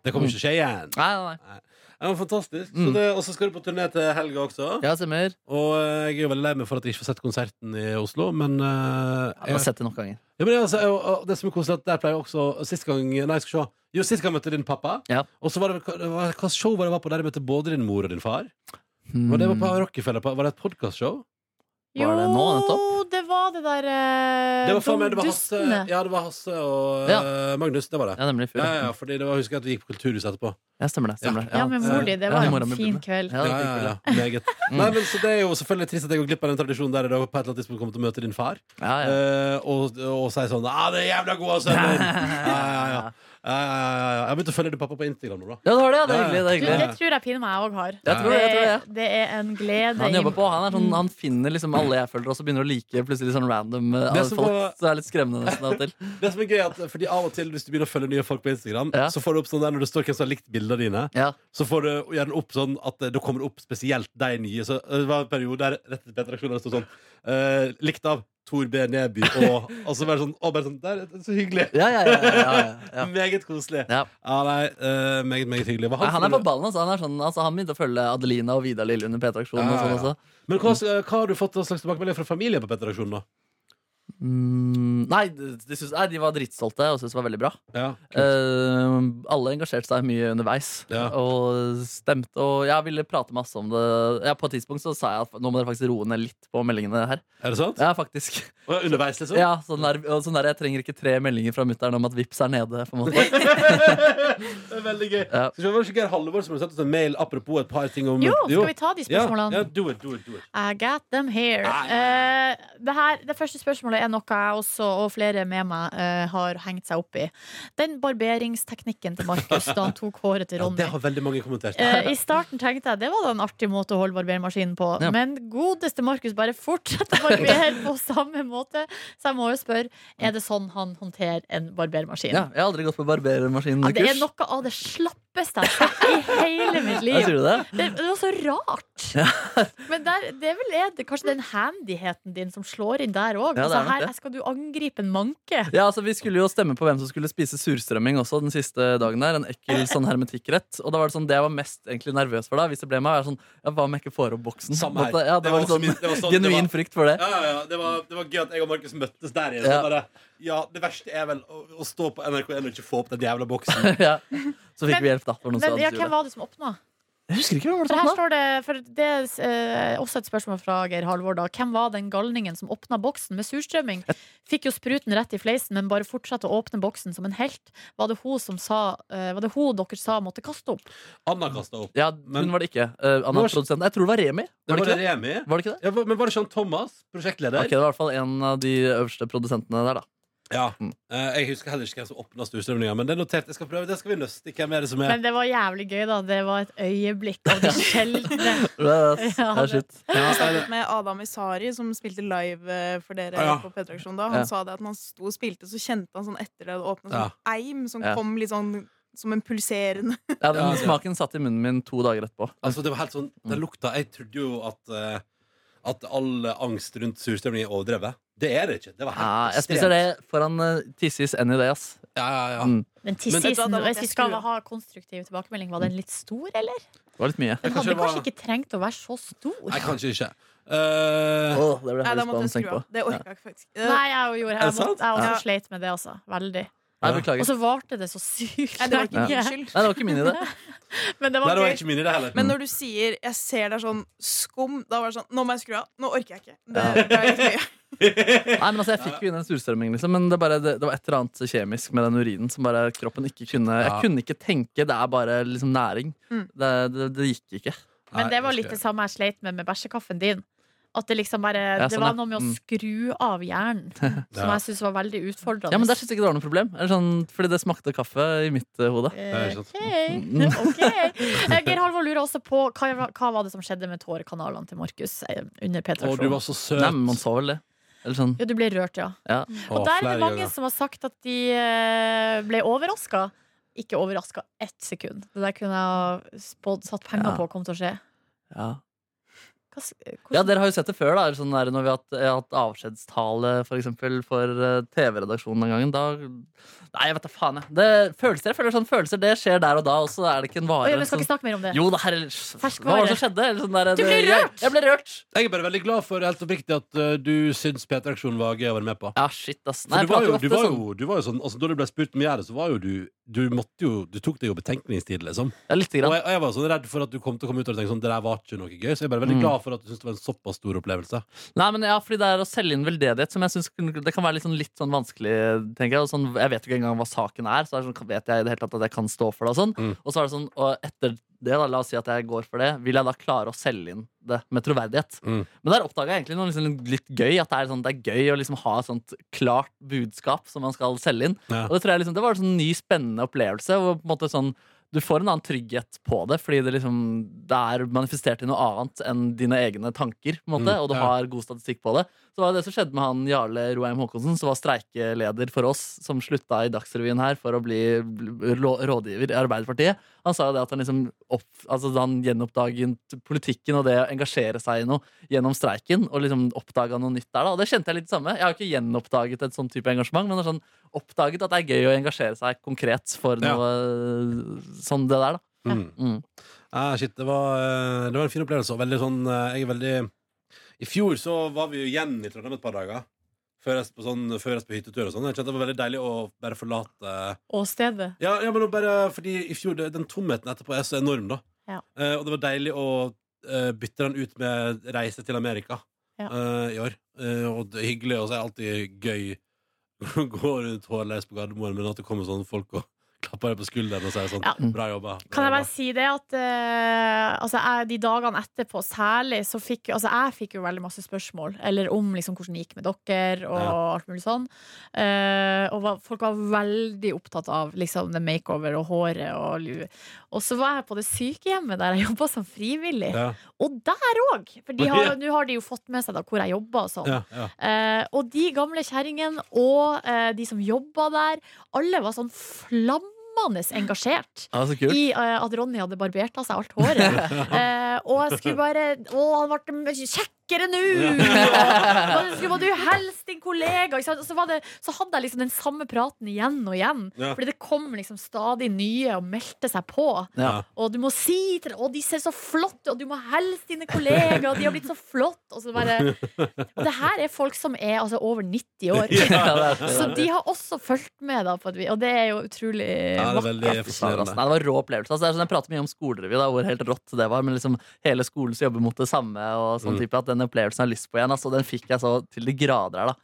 Det kommer ikke skje igjen. Nei, nei, nei. Ja, men fantastisk. Så Mm. det- Og så skal du på turné til helga også. Ja, stemmer. Og eh, jeg er jo veldig lei meg for at jeg ikke får sett konserten i Oslo, men, eh, Ja, du jeg, har sett det nok ganger. ja, men altså, jeg, og Det som er koselig, at der pleier jeg også Sist gang Nei, jeg skal se. Jo, sist gang jeg møtte din pappa. Ja. Og så var det hva- hva, hva show var det jeg var på der jeg møtte både din mor og din far? Hmm. Var det på Rockefeller? På, var det et podkastshow? Var det nå nettopp? det var det der eh, Det var faen meg de det var Hasse, dustene. ja, det var Hasse og eh, Magnus. Det var det. Hmm. Ja, nemlig i fjor. Ja, ja, fordi det var, husker jeg at vi gikk på Kulturhuset etterpå. Ja, stemmer det. Stemmer det. Ja, med mor di. Det Ja, var mora en mi ble fin med. kveld. Ja, det ja, var ja, kult, ja. ja. Meget. Mm. Nei, men, så det er jo selvfølgelig trist at jeg går glipp av den tradisjonen der jeg da på et eller annet tidspunkt kommer til å møte din far. Ja, ja. Eh, og, og sier sånn ah, 'Det er jævla gode sønner'. ja, ja, ja. Ja, ja, ja, ja. Jeg har begynt å følge din pappa på Instagram nå, da. Ja, det var det. ja. Det er Ja, ja. hyggelig. det er Du, hyggelig det tror jeg pinner meg òg har. Jeg tror det, jeg tror det, ja. det er en glede Han i- jobber på, han, er sånn, han finner liksom alle jeg følger, og så begynner å like plutselig sånn random eh, Det som folk. var- Så det er litt skremmende nesten av og til. Det som er gøy er at Fordi Av og til hvis du begynner å følge nye folk på Instagram, Ja. så får du opp sånn der når det står hvem som har likt bildene dine. Ja. Så får du gjerne opp sånn at eh, da kommer det opp spesielt de nye. Så eh, Det var en periode der rett etter P-traksjonen sto sånn eh, Likt av Tor B. Neby og Og så bare sånn, og bare sånn Der, så hyggelig. Ja, ja, ja, ja, ja, ja. Meget koselig. Ja. nei, eh, meget, meget hyggelig. Hva Nei, han er på skulle- ballen, altså. Han, er sånn, altså, han begynte å følge Adelina og Vidar Lille under P3-aksjonen. Ja, ja, og sånn ja. også Men hva, eh, hva har du fått av slags tilbakemelding fra familien på P-traksjonen, da? mm, nei, de, de syns- nei, de var dritstolte og syntes det var veldig bra. Ja. Eh, alle engasjerte seg mye underveis Ja. og stemte. Og jeg ville prate masse om det. Ja, på et tidspunkt så sa jeg at nå må dere faktisk roe ned litt på meldingene her. Er det sant? Ja, faktisk. Og Underveis, liksom? Ja, sånn der, og sånn der, jeg trenger ikke tre meldinger fra mutter'n om at Vips er nede. På en måte. Det er veldig gøy. Ja. Skal vi se, var det ikke Geir Halvor som hadde sendt oss en mail apropos et par ting om Jo, skal vi ta de Ja, spørsmålene? ja, do it, do it, do it. I got them here. Nei. Eh, det, her, det første spørsmålet er er noe jeg også, og flere med meg, eh, har hengt seg opp i. Den barberingsteknikken til Markus da han tok håret til Ja, Ronny. det har veldig mange kommentert. Eh, I starten tenkte jeg det var da en artig måte å holde barbermaskinen på. Ja. Men godeste Markus bare fortsetter å barbere på samme måte. Så jeg må jo spørre, er det sånn han håndterer en barbermaskin? Ja, jeg har aldri gått på Ja, det barbermaskinkurs. er noe av det slappeste jeg har sett i hele Ja, mitt liv. sier du det? Det, det var så rart. Men der, det er vel er det, kanskje den handigheten din som slår inn der Ja, òg. det er altså, nok her det. her skal du angripe en manke. Ja, altså Vi skulle jo stemme på hvem som skulle spise surstrømming også den siste dagen. der En ekkel sånn hermetikkrett. Og da var det sånn, det jeg var mest egentlig nervøs for da, hvis det ble meg, var sånn ja, Hva om jeg ikke får opp boksen? Samme her. Ja, det, Det var var også sånn, min- det var sånn- Genuin det var- frykt for det. Ja, ja, ja. Det, var, det var gøy at jeg og Markus møttes der igjen. Ja. Så bare, ja, det verste er vel å, å stå på NRK1 og ikke få opp den jævla boksen. Ja. Så fikk Men- vi hjelp, da. For noen Men som ja, hadde hvem sur det. var det som åpna? Jeg husker ikke hvem var For det her som var. står det, for det er eh, også et spørsmål fra Geir Halvor. da Hvem var den galningen som åpna boksen med surstrømming? Fikk jo spruten rett i fleisen, men bare fortsatte å åpne boksen som en helt. Var det hun, som sa, eh, var det hun dere sa måtte kaste opp? Anna kasta opp. Ja, Men- hun var det ikke. Eh, Anna, Nå- produsenten. Jeg tror det var Remi. Det Var det var ikke det? Remi. Var det ikke det? Ja, men var det ikke han Thomas, prosjektleder? Ok, det var i hvert fall en av de øverste produsentene der, da. Ja. Mm. Eh, jeg husker heller ikke hvem som åpna storstrømninga, men det er notert. Jeg skal prøve, det skal vi nøste. i. Hvem er det som er Men det var jævlig gøy, da. Det var et øyeblikk av det sjeldne. Det er- Ja, det er det- shit. ja, er det- snakket med Adam Isari, som spilte live eh, for dere Ah, ja. på P3aksjon da. Han Ja. sa det at når han sto og spilte, så kjente han sånn etter det hadde åpnet Ja. sånn eim som Ja. kom litt sånn som en pulserende Ja, den Ja, det- smaken satt i munnen min to dager etterpå. Altså, det var helt sånn Den lukta Jeg trodde jo at eh, At all angst rundt surstrømning er overdrevet. Det er det ikke. Det var helt Ja, jeg Ah, ekstremt. spiser det foran uh, Tissis any day, ass. Ja, ja, ja. Mm, Men Men- tissisen, Da hvis måtte jeg vi skal skru. ha konstruktiv tilbakemelding, var den litt stor, eller? det var litt mye. Den kanskje hadde det var- kanskje ikke trengt å være så stor. Nei, kanskje ikke. Eh, Åh, det ble Nei, da høyest banen måtte jeg å tenke skru på. av. Det orka jeg ikke faktisk. Eh, Nei, jeg gjorde Jeg, det sant? måtte, jeg også Ja. sleit med det, altså. Veldig. Nei, Og beklager. så varte det så sykt Nei, det var lenge. ikke min skyld. Nei, det var ikke min idé. Men det nei, var det var gøy. ikke min idé heller. Men når du sier 'jeg ser deg sånn skum', da var det sånn 'nå må jeg skru av'. Nå orker jeg ikke. Det, det er ikke mye. Nei, men altså, Jeg fikk jo inn en surstrømming, liksom, men det, bare, det, det var et eller annet kjemisk med den urinen som bare kroppen ikke kunne Jeg Ja. kunne ikke tenke. Det er bare liksom næring. Mm. Det, det, det gikk ikke. Men det Nei, var jeg litt sånn, det husker samme jeg sleit med med bæsjekaffen din. At det liksom bare Ja, Det sånn, var ja. noe med å Mm. skru av hjernen som Ja. jeg syntes var veldig utfordrende. Ja, men Der syns jeg ikke det var noe problem. Eller sånn, fordi det smakte kaffe i mitt eh, hode. Eh, Det sånn Mm. Ok, ok Eh, Geir Halvor lurer også på hva, hva var det som skjedde med tårekanalene til Markus eh, under Å, du P-traksjonen. var så søt. sånn. Nei, men Man så vel det. Eller sånn. Ja, du ble rørt, ja. Ja. Og Å, der er flere det mange ganger. som har sagt at de eh, ble overraska. Ikke overraska ett sekund. Det der kunne jeg ha spådd, satt penger Ja. på kom til å skje. Ja. Hva, s- hvordan- ja, Dere har jo sett det før, da. eller Sånn der, når vi har hatt, jeg har hatt avskjedstale for, eksempel, for eh, TV-redaksjonen den gangen. Da Nei, jeg vet da faen, jeg. Det, følelser, jeg føler sånn, følelser det skjer der og da, og så er det ikke en Oi, vare. men skal sånn- ikke snakke mer om det. Jo da, herre Hva var det som skjedde? Eller sånn der, Du ble det- jeg- rørt! Jeg ble rørt! Jeg er bare veldig glad for helt oppriktig at eh, du syns P3-aksjonen var gøy å være med på. Ja, shit, ass. For Nei, du, var jo, jeg prater du, ofte var sånn. jo, du var jo sånn altså, Da du ble spurt om å gjøre det, så var jo du Du måtte jo Du tok deg jo betenkningstid, liksom. Ja, lite Og grann. jeg, og jeg var sånn redd for at du kom til å komme ut og tenke sånn Det der var ikke noe gøy. Så jeg er bare veldig Mm. glad for at du syns det var en såpass stor opplevelse. Nei, men ja, fordi det er å selge inn veldedighet som jeg synes kunne- det kan være litt sånn, litt sånn vanskelig, tenker jeg. Og sånn, jeg vet jo ikke engang hva saken er, så er det sånn, vet jeg i det hele tatt at jeg kan stå for det og sånn. Mm. Og så er det sånn, og etter det, da, la oss si at jeg går for det, vil jeg da klare å selge inn det med troverdighet? Mm. Men der oppdaga jeg egentlig noe liksom, litt gøy, at det er, sånn, det er gøy å liksom ha et sånt klart budskap som man skal selge inn. Ja. Og det tror jeg liksom, det var en sånn ny, spennende opplevelse. Hvor på en måte sånn, du får en annen trygghet på det, fordi det, liksom, det er manifestert i noe annet enn dine egne tanker. på en måte, Mm, Og du ja. har god statistikk på det. Så var det det som skjedde med han Jarle Roheim Haakonsen, som var streikeleder for oss, som slutta i Dagsrevyen her for å bli bl- rå- rådgiver i Arbeiderpartiet. Han sa jo det at han liksom opp, altså da han gjenoppdaget politikken og det å engasjere seg i noe gjennom streiken, og liksom oppdaga noe nytt der. da, Og det kjente jeg litt det samme. Jeg har ikke gjenoppdaget et sånn type engasjement, men det er sånn oppdaget at det er gøy å engasjere seg konkret for Ja. noe eh, som det der, da. Mm. Mm. Ah, shit, det var, eh, det var en fin opplevelse. Og veldig sånn eh, Jeg er veldig I fjor så var vi jo igjen i Trondheim et par dager. Før jeg på, sånn, før jeg på hyttetur og sånn. Jeg kjente det var veldig deilig å bare forlate Åstedet. Ja, ja men nå bare fordi i fjor det- Den tomheten etterpå er så enorm, da. Ja. Eh, og det var deilig å eh, bytte den ut med reise til Amerika Ja. eh, i år. Eh, og det er hyggelig, og så er det alltid gøy å gå rundt hårløs på Gardermoen, men at det kommer sånne folk og klapper deg på skulderen og sier sånn Ja. Bra jobba. bra Kan jobba». jeg bare si det at eh, altså jeg, de dagene etterpå særlig, så fikk jo- altså jeg fikk jo veldig masse spørsmål eller om liksom hvordan det gikk med dere og Ja. alt mulig sånn. Eh, og var, folk var veldig opptatt av liksom det makeover og håret og lue. Og så var jeg på det sykehjemmet der jeg jobba som frivillig. ja. Og der òg! For de har- nå har de jo fått med seg da hvor jeg jobber og sånn. Ja, ja. Eh, og de gamle kjerringene og eh, de som jobba der, alle var sånn flammende engasjert Ja, så kult. i eh, at Ronny hadde barbert av seg alt håret. Eh, og jeg skulle bare Å, han ble kjekkere nå! Og så Skulle bare du helst din kollega? Ikke sant? Og så, var det, så hadde jeg liksom den samme praten igjen og igjen. Ja. Fordi det kom liksom stadig nye og meldte seg på. Ja. Og du må si til Å, de ser så flott ut, og du må helst dine kollegaer, og de har blitt så flott. Og så bare Og det her er folk som er altså over 90 år. Ja, det er- Så de har også fulgt med, da, på et vis. Og det er jo utrolig Ja, det er vakkert. veldig Fy faen, ass. fascinerende. Nei, det var rå opplevelse. Altså, det er sånn, jeg prater mye om skolerevy, da, hvor helt rått det var. Men liksom hele skolen som jobber mot det samme, og sånn Mm. type, at den opplevelsen jeg har lyst på igjen, altså, den fikk jeg så til de grader her, da.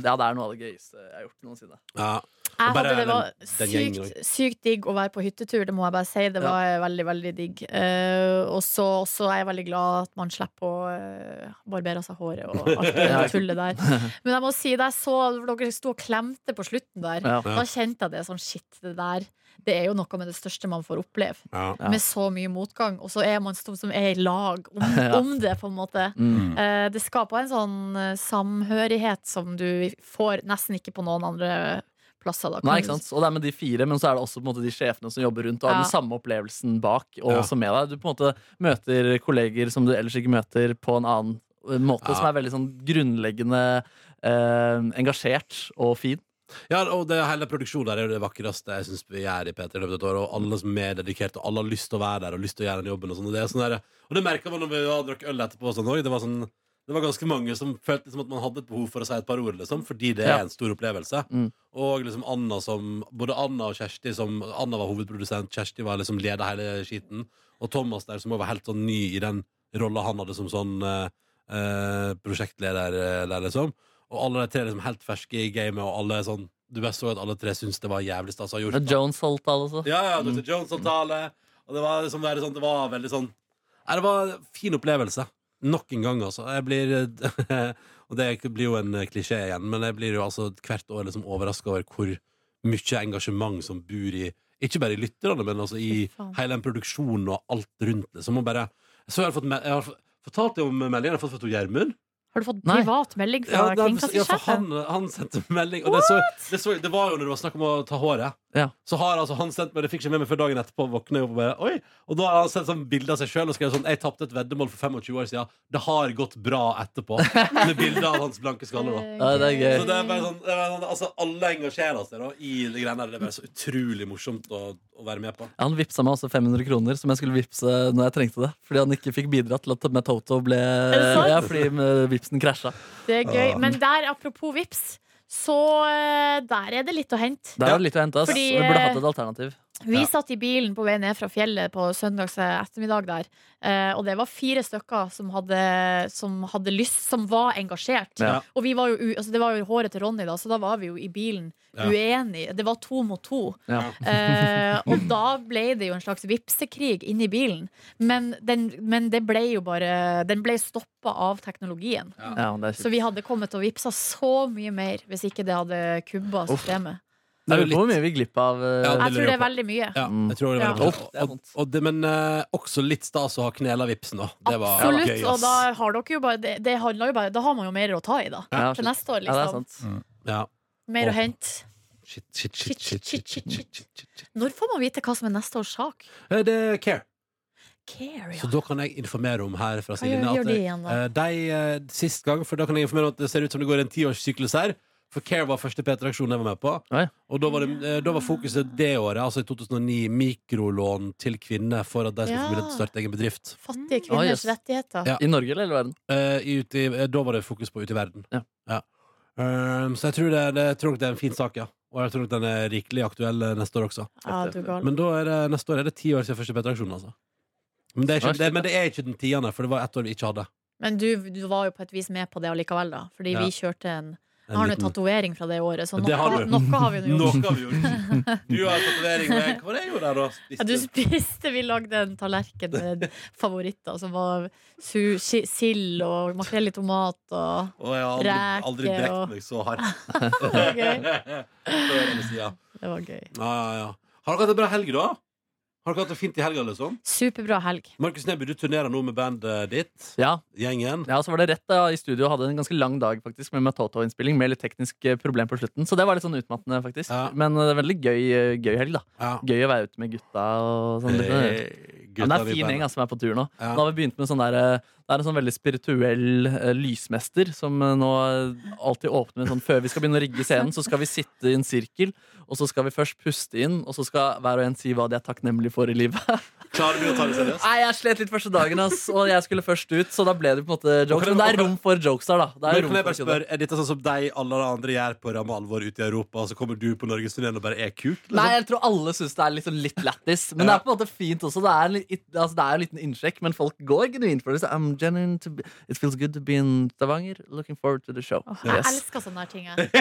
Ja, det er noe av det gøyeste jeg har gjort noensinne. Ja. Jeg Bare hadde det var den- den gjengen sykt, sykt digg å være på hyttetur, det må jeg bare si. Det var veldig, veldig digg. Eh, og så også er jeg veldig glad at man slipper å eh, barbere seg håret og alt det Ja. tullet der. Men jeg må si, da jeg så dere sto og klemte på slutten der, Ja. da kjente jeg det sånn shit, det der. Det er jo noe med det største man får oppleve. Ja. Ja. Med så mye motgang, og så er man stor som er i lag om, Ja. om det, på en måte. Mm. Eh, Det skaper en sånn eh, samhørighet som du får nesten ikke på noen andre plasser. Da. Nei, ikke sant? Og det er med de fire, men så er det også på en måte, de sjefene som jobber rundt og har Ja. den samme opplevelsen bak og Ja. også med deg. Du på en måte møter kolleger som du ellers ikke møter på en annen eh, måte, Ja. som er veldig sånn grunnleggende eh, engasjert og fin. Ja, og det hele produksjonen der er jo det vakreste jeg synes vi gjør i P3 i løpet av et år. Og alle som er mer dedikert, og alle har lyst til å være der og lyst til å gjøre den jobben. Og, sånn, og det, er sånn der, og det merket man når vi hadde drakk øl etterpå. og Sånn, også. det, var sånn, det var ganske mange som følte liksom, at man hadde et behov for å si et par ord, liksom, fordi det Ja. er en stor opplevelse. Mm. Og liksom Anna som, både Anna og Kjersti som Anna var hovedprodusent, Kjersti var liksom leder hele skiten. Og Thomas der som også var helt sånn ny i den rolla han hadde som sånn eh, eh, prosjektleder eh, der, liksom. Og alle de tre liksom helt ferske i gamet, og alle er sånn Du bare så at alle tre syntes det var jævlig stas å ha gjort. Men Jones holdt alle også. Ja, ja, Mm. Dr. Jones-avtale. Og det var liksom veldig sånn Det var veldig sånn Nei, det var en fin opplevelse. Nok en gang, altså. Jeg blir Og det blir jo en klisjé igjen, men jeg blir jo altså hvert år liksom overraska over hvor mye engasjement som bor i Ikke bare i lytterne, men altså i Fy faen. hele den produksjonen og alt rundt det. Så må bare Så jeg har fått me- jeg har f- fortalt deg om meldingen jeg har fått fra Tor Gjermund. Har du fått Nei. privat melding Ja, nei, fra for- ja, for kringkastingssjefen? han, han sendte melding og det, så, det, så, det var jo når det var snakk om å ta håret Ja. Så har altså, han sendt meg Det fikk ikke med meg før dagen etterpå Våkne opp og bare Oi Og da har han sendt sånn bilder av seg selv Og skrev sånn Jeg tappte et veddemål for 25 år siden Det har gått bra etterpå Med bilder av hans blanke skalle da Ja, det er Eh. gøy. så det er bare sånn, det er bare sånn altså, Alle engasjerer seg da, i de greiene der Det er bare så utrolig morsomt å, å være med på Han vippsa meg også 500 kroner, som jeg skulle vippse når jeg trengte det. Fordi han ikke fikk bidra til at med Toto ble det sant? Ja, fordi med vipsen krasja. Det er gøy. Men der, apropos vips, så eh, der er det litt å hente. Der var det litt å hente. ass. Fordi, Vi burde eh, hatt et alternativ. Vi Ja. satt i bilen på vei ned fra fjellet på søndags ettermiddag der, eh, og det var fire stykker som hadde, som hadde lyst, som var engasjert. Ja. Og vi var jo, u- altså det var jo håret til Ronny, da, så da var vi jo i bilen Ja. uenige. Det var to mot to. Ja. Eh, og da ble det jo en slags vipsekrig inni bilen. Men, den, men det ble jo bare Den ble stoppa av teknologien. Ja, det er Så kjipt. vi hadde kommet og vipsa så mye mer hvis ikke det hadde kubba systemet. Jeg jo lurer på hvor mye vi glipp av eh, Ja, det Jeg lurer tror det jeg er veldig mye. ja, jeg tror det er veldig Ja. morsomt. Uff, det er og, vondt. og det, Men eh, også litt stas å ha knela vipsen da Det var Absolutt. gøy Og ass. da har dere jo bare det, det handler jo bare Da har man jo mer å ta i, da. Ja, Til neste år, Ja, det er liksom. sant. Mm. ja. Mer Åh. å hente. Shit, shit, shit, shit, shit, shit, shit, shit, shit, shit. Når får man vite hva som er neste års sak? Eh, Det er care Care, Så ja. da kan jeg informere om her fra Hva gjør, sidelinja at gjør de igjen, da? eh, de eh, sist gang, for da kan jeg informere om at det ser ut som det går en tiårssyklus her. For Care var første P3-aksjon jeg var med på. Oi. Og da var, det, eh, da var fokuset det året, altså i 2009, mikrolån til kvinner for at de skulle få Ja. mulighet til å starte egen bedrift. Fattige Mm. Å, kvinners jøs. rettigheter. Ja. I Norge eller hele verden? Eh, i, ute i, eh, da var det fokus på ute i verden. Ja. Ehm, så jeg tror, det, det, jeg tror nok det er en fin sak, ja. Og jeg tror nok den er rikelig aktuell eh, neste år også. Ja, du er gal. Men da er det, neste år er det ti år siden første P3-aksjon, altså. Men det, er ikke, det, men det er ikke den tiende, for det var ett år vi ikke hadde. Men du, du var jo på et vis med på det allikevel, da. Fordi Ja. vi kjørte en Jeg har nå tatovering fra det året, så Det noe, har du. noe har vi nå Noe gjort. har vi gjort. Du har tatovering. men Hva var det jeg gjorde der, da? Ja, du spiste, vi lagde en tallerken med favoritter som var su si- sild og makrell i tomat og Å, jeg har aldri, aldri Reke og- brekt meg så hardt. Det var gøy. På ene siden. Det var gøy. Ja, ja, ja. Har dere hatt en bra helg, da? Har dere hatt det fint i helga? Liksom? Superbra helg. Markus Neby, du turnerer nå med bandet ditt. Ja, Gjengen. Ja, og så var det rett da i studio og hadde en ganske lang dag faktisk med Matoto-innspilling med litt teknisk eh, problem på slutten. Så det var litt sånn utmattende, faktisk. Ja. Men eh, det er veldig gøy, eh, gøy helg, da. Ja. Gøy å være ute med gutta og sånn. Litt, eh, Eh, ja, men det er gutta i en fin gjeng bandet. altså, som er på tur nå. Ja. Nå har vi begynt med sånn der eh, Det er en sånn veldig spirituell eh, lysmester som eh, nå eh, alltid åpner med sånn Før vi skal begynne å rigge scenen, så skal vi sitte i en sirkel, og så skal vi først puste inn, og så skal hver og en si hva de er takknemlige for i livet. Klarer du å ta det seriøst? Nei, jeg slet litt første dagen, ass, og jeg skulle først ut, så da ble det på en måte Og jokes. kan- Men det og er kan- rom for jokes der, da. Det er Men rom kan jeg for bare spørre, Er dette sånn som deg alle de andre gjør på ramme alvor ute i Europa, og så kommer du på norgesturneen og bare er kuk? Liksom? Nei, jeg tror alle syns det er liksom litt lættis. Men det Ja. er på en måte fint også. Det er, en litt- altså, det er en liten innsjekk, men folk går genuint for det. Så I'm genuine to be, it feels good to be in Stavanger. Looking forward to the show. Åh, Jeg Yes. elsker sånne her ting. jeg.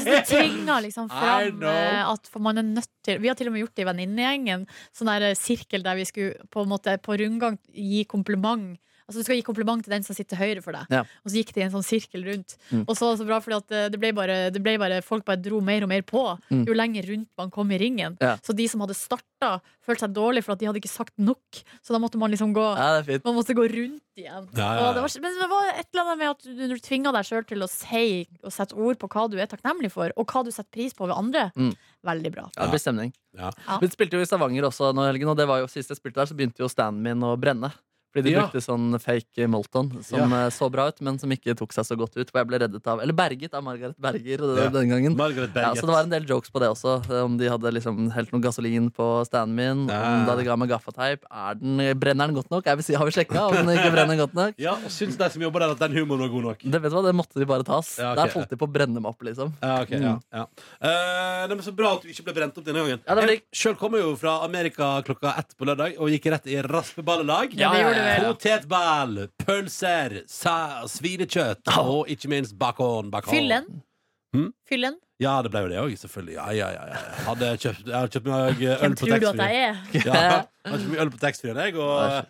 Hvis det tvinger liksom I fram know. eh, at for man er nødt til Vi har til og med gjort det i venninnegjengen. Sånn der eh, sirkel der vi skulle på en måte på rundgang gi kompliment. Altså Du skal gi kompliment til den som sitter høyre for deg. Ja. Og så gikk det i en sånn sirkel rundt. Mm. Og så var det så bra, fordi at eh, det ble bare, det ble bare folk bare dro mer og mer på Mm. jo lenger rundt man kom i ringen. Ja. Så de som hadde starta, følte seg dårlig for at de hadde ikke sagt nok. Så da måtte man liksom gå Ja, det er fint. man måtte gå rundt igjen. Ja, ja, ja. Og det var, men det var et eller annet med at du, du tvinga deg sjøl til å si og sette ord på hva du er takknemlig for, og hva du setter pris på ved andre. Mm. Veldig bra. Ja, det blir stemning. Ja. Ja. Vi spilte jo i Stavanger også nå i helgen, og det var jo sist jeg spilte der, så begynte jo standen min å brenne. Fordi de Ja. brukte sånn fake Molton som eh, så bra ut, men som ikke tok seg så godt ut. Og jeg ble reddet av, eller berget av Margaret Berger eh, Ja. den gangen. Margaret Ja, Berget. så det var en del jokes på det også. Om de hadde liksom helt noe gasolin på standen min. Ja. Om da de ga meg gaffateip. Er den, brenner den godt nok? Er vi, si- har vi sjekka om den ikke brenner godt nok? Ja, og syns de som jobber der, at den humoren var god nok? Det, vet du hva, det måtte de bare tas. Ja, ok. Der holdt de på å brenne meg opp, liksom. Ja, ok, ja, ja. Mm. Eh, nei, men Så bra at du ikke ble brent opp denne gangen. Ja, det blir- Jeg sjøl kom jeg jo fra Amerika klokka ett på lørdag og gikk rett i raspeballelag. Ja, det gjorde du vel. Potetball, pølser, sa, svinekjøtt og ikke minst bacon. bacon. Fyllen. Mm. Fyllen. Ja, det ble jo det òg, selvfølgelig. Ja, ja, ja, ja. Jeg Hadde kjøpt, jeg hadde kjøpt meg eh, øl Hvem på tror du at taxfree. jeg er? Ja, jeg hadde kjøpt meg øl på taxfree, Vær jeg, så- og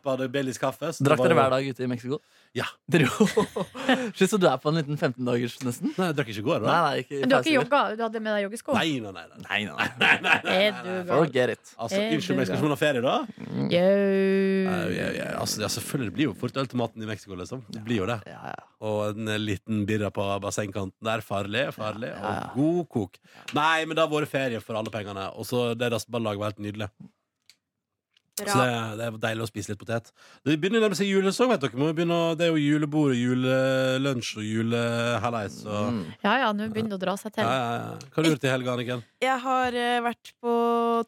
vertskapet hadde Baileys kaffe. så det Drakk var dere jo- hver dag ute i Mexico? Ja. Dere Slik som du er på en liten 15-dagers, nesten? Nei, jeg drakk ikke i går, Nei, da. nei, ikke i Men du har ikke pauser. jogga? Du hadde med deg joggesko? Nei, nei, nei. nei. Nei, nei, nei. Er du gal? Forget it. Altså, Eh, Unnskyld meg, skal ikke du- man ha ferie da? Mm. Jau. ja, ja, altså, ja, selvfølgelig blir jo fort øl til maten i Mexico, liksom. Det blir jo det. Ja, ja. Og en eh, liten birra på bassengkanten der. Farlig, farlig. Og god kok. Nei, men det har vært ferie for alle pengene. Og så det raspeballaget var helt nydelig. Så det, det er deilig å spise litt potet. Det begynner å nærme seg julesong, vet dere. Må jo begynne, å- det er jo julebord og julelunsj og julehallais og Mm. Ja ja, nå begynner det å dra ja, seg ja, til. ja. Hva har du gjort i helga, Anniken? Jeg har eh, vært på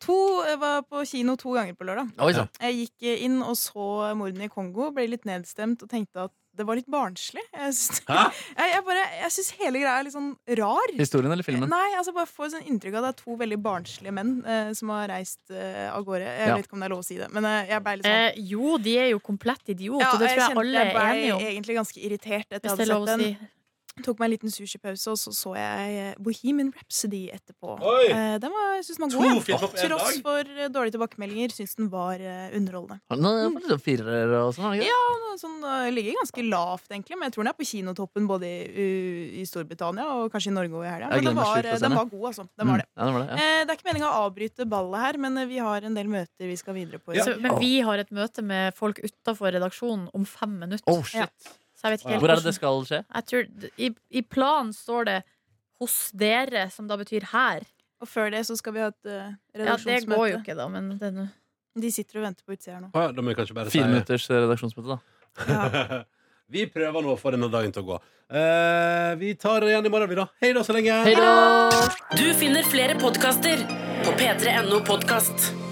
to Jeg var på kino to ganger på lørdag. Oi sann. Jeg gikk eh, inn og så mordene i Kongo, ble litt nedstemt og tenkte at det var litt barnslig. Jeg syns Hæ? jeg, jeg bare, jeg syns hele greia er litt sånn rar. Historien eller filmen? Nei, altså bare får sånn inntrykk av at det er to veldig barnslige menn eh, som har reist eh, av gårde. Jeg Ja. vet ikke om det er lov å si det, men eh, jeg ble litt sånn Eh, jo, de er jo komplett idiot, Ja, og det tror jeg kjente alle er ble enige om. egentlig ganske irritert etter Hvis at det er jeg lov hadde å si. sett den. Tok meg en liten sushipause, og så så jeg eh, Bohemian Rhapsody etterpå. Oi! Eh, den var, jeg synes den var To god. jeg. filmer på en Tross dag? for eh, dårlige tilbakemeldinger syns den var eh, underholdende. Nå er det litt sånn firer og sånn, er det ikke? Ja, den er sånn, eh, ligger ganske lavt, egentlig, men jeg tror den er på kinotoppen både i, u- i Storbritannia og kanskje i Norge òg i helga. Jeg Men den gleder meg sjukt var, til å eh, se den, jeg. den var god, altså. Den var det. Mm, Ja, det var det. Ja. Eh, Det er ikke meninga å avbryte ballet her, men eh, vi har en del møter vi skal videre på. i Ja. dag. Så, men vi har et møte med folk utafor redaksjonen om fem minutter. Oh, shit. Så jeg vet ikke helt Hvor er hvordan- det det skal skje? Jeg tror, i, I planen står det 'hos dere', som da betyr her. Og før det så skal vi ha et eh, Ja, Det går jo redaksjonsmøte. ikke, da, men det er noe- De sitter og venter på utsida her nå. Å ja, da må jeg kanskje bare si Fire minutters redaksjonsmøte, da. Ja. Vi prøver nå å få denne dagen til å gå. Eh, vi tar det igjen i morgen, vi, da. Hei da, så lenge. Hei da! Du finner flere podkaster på p3.no podkast.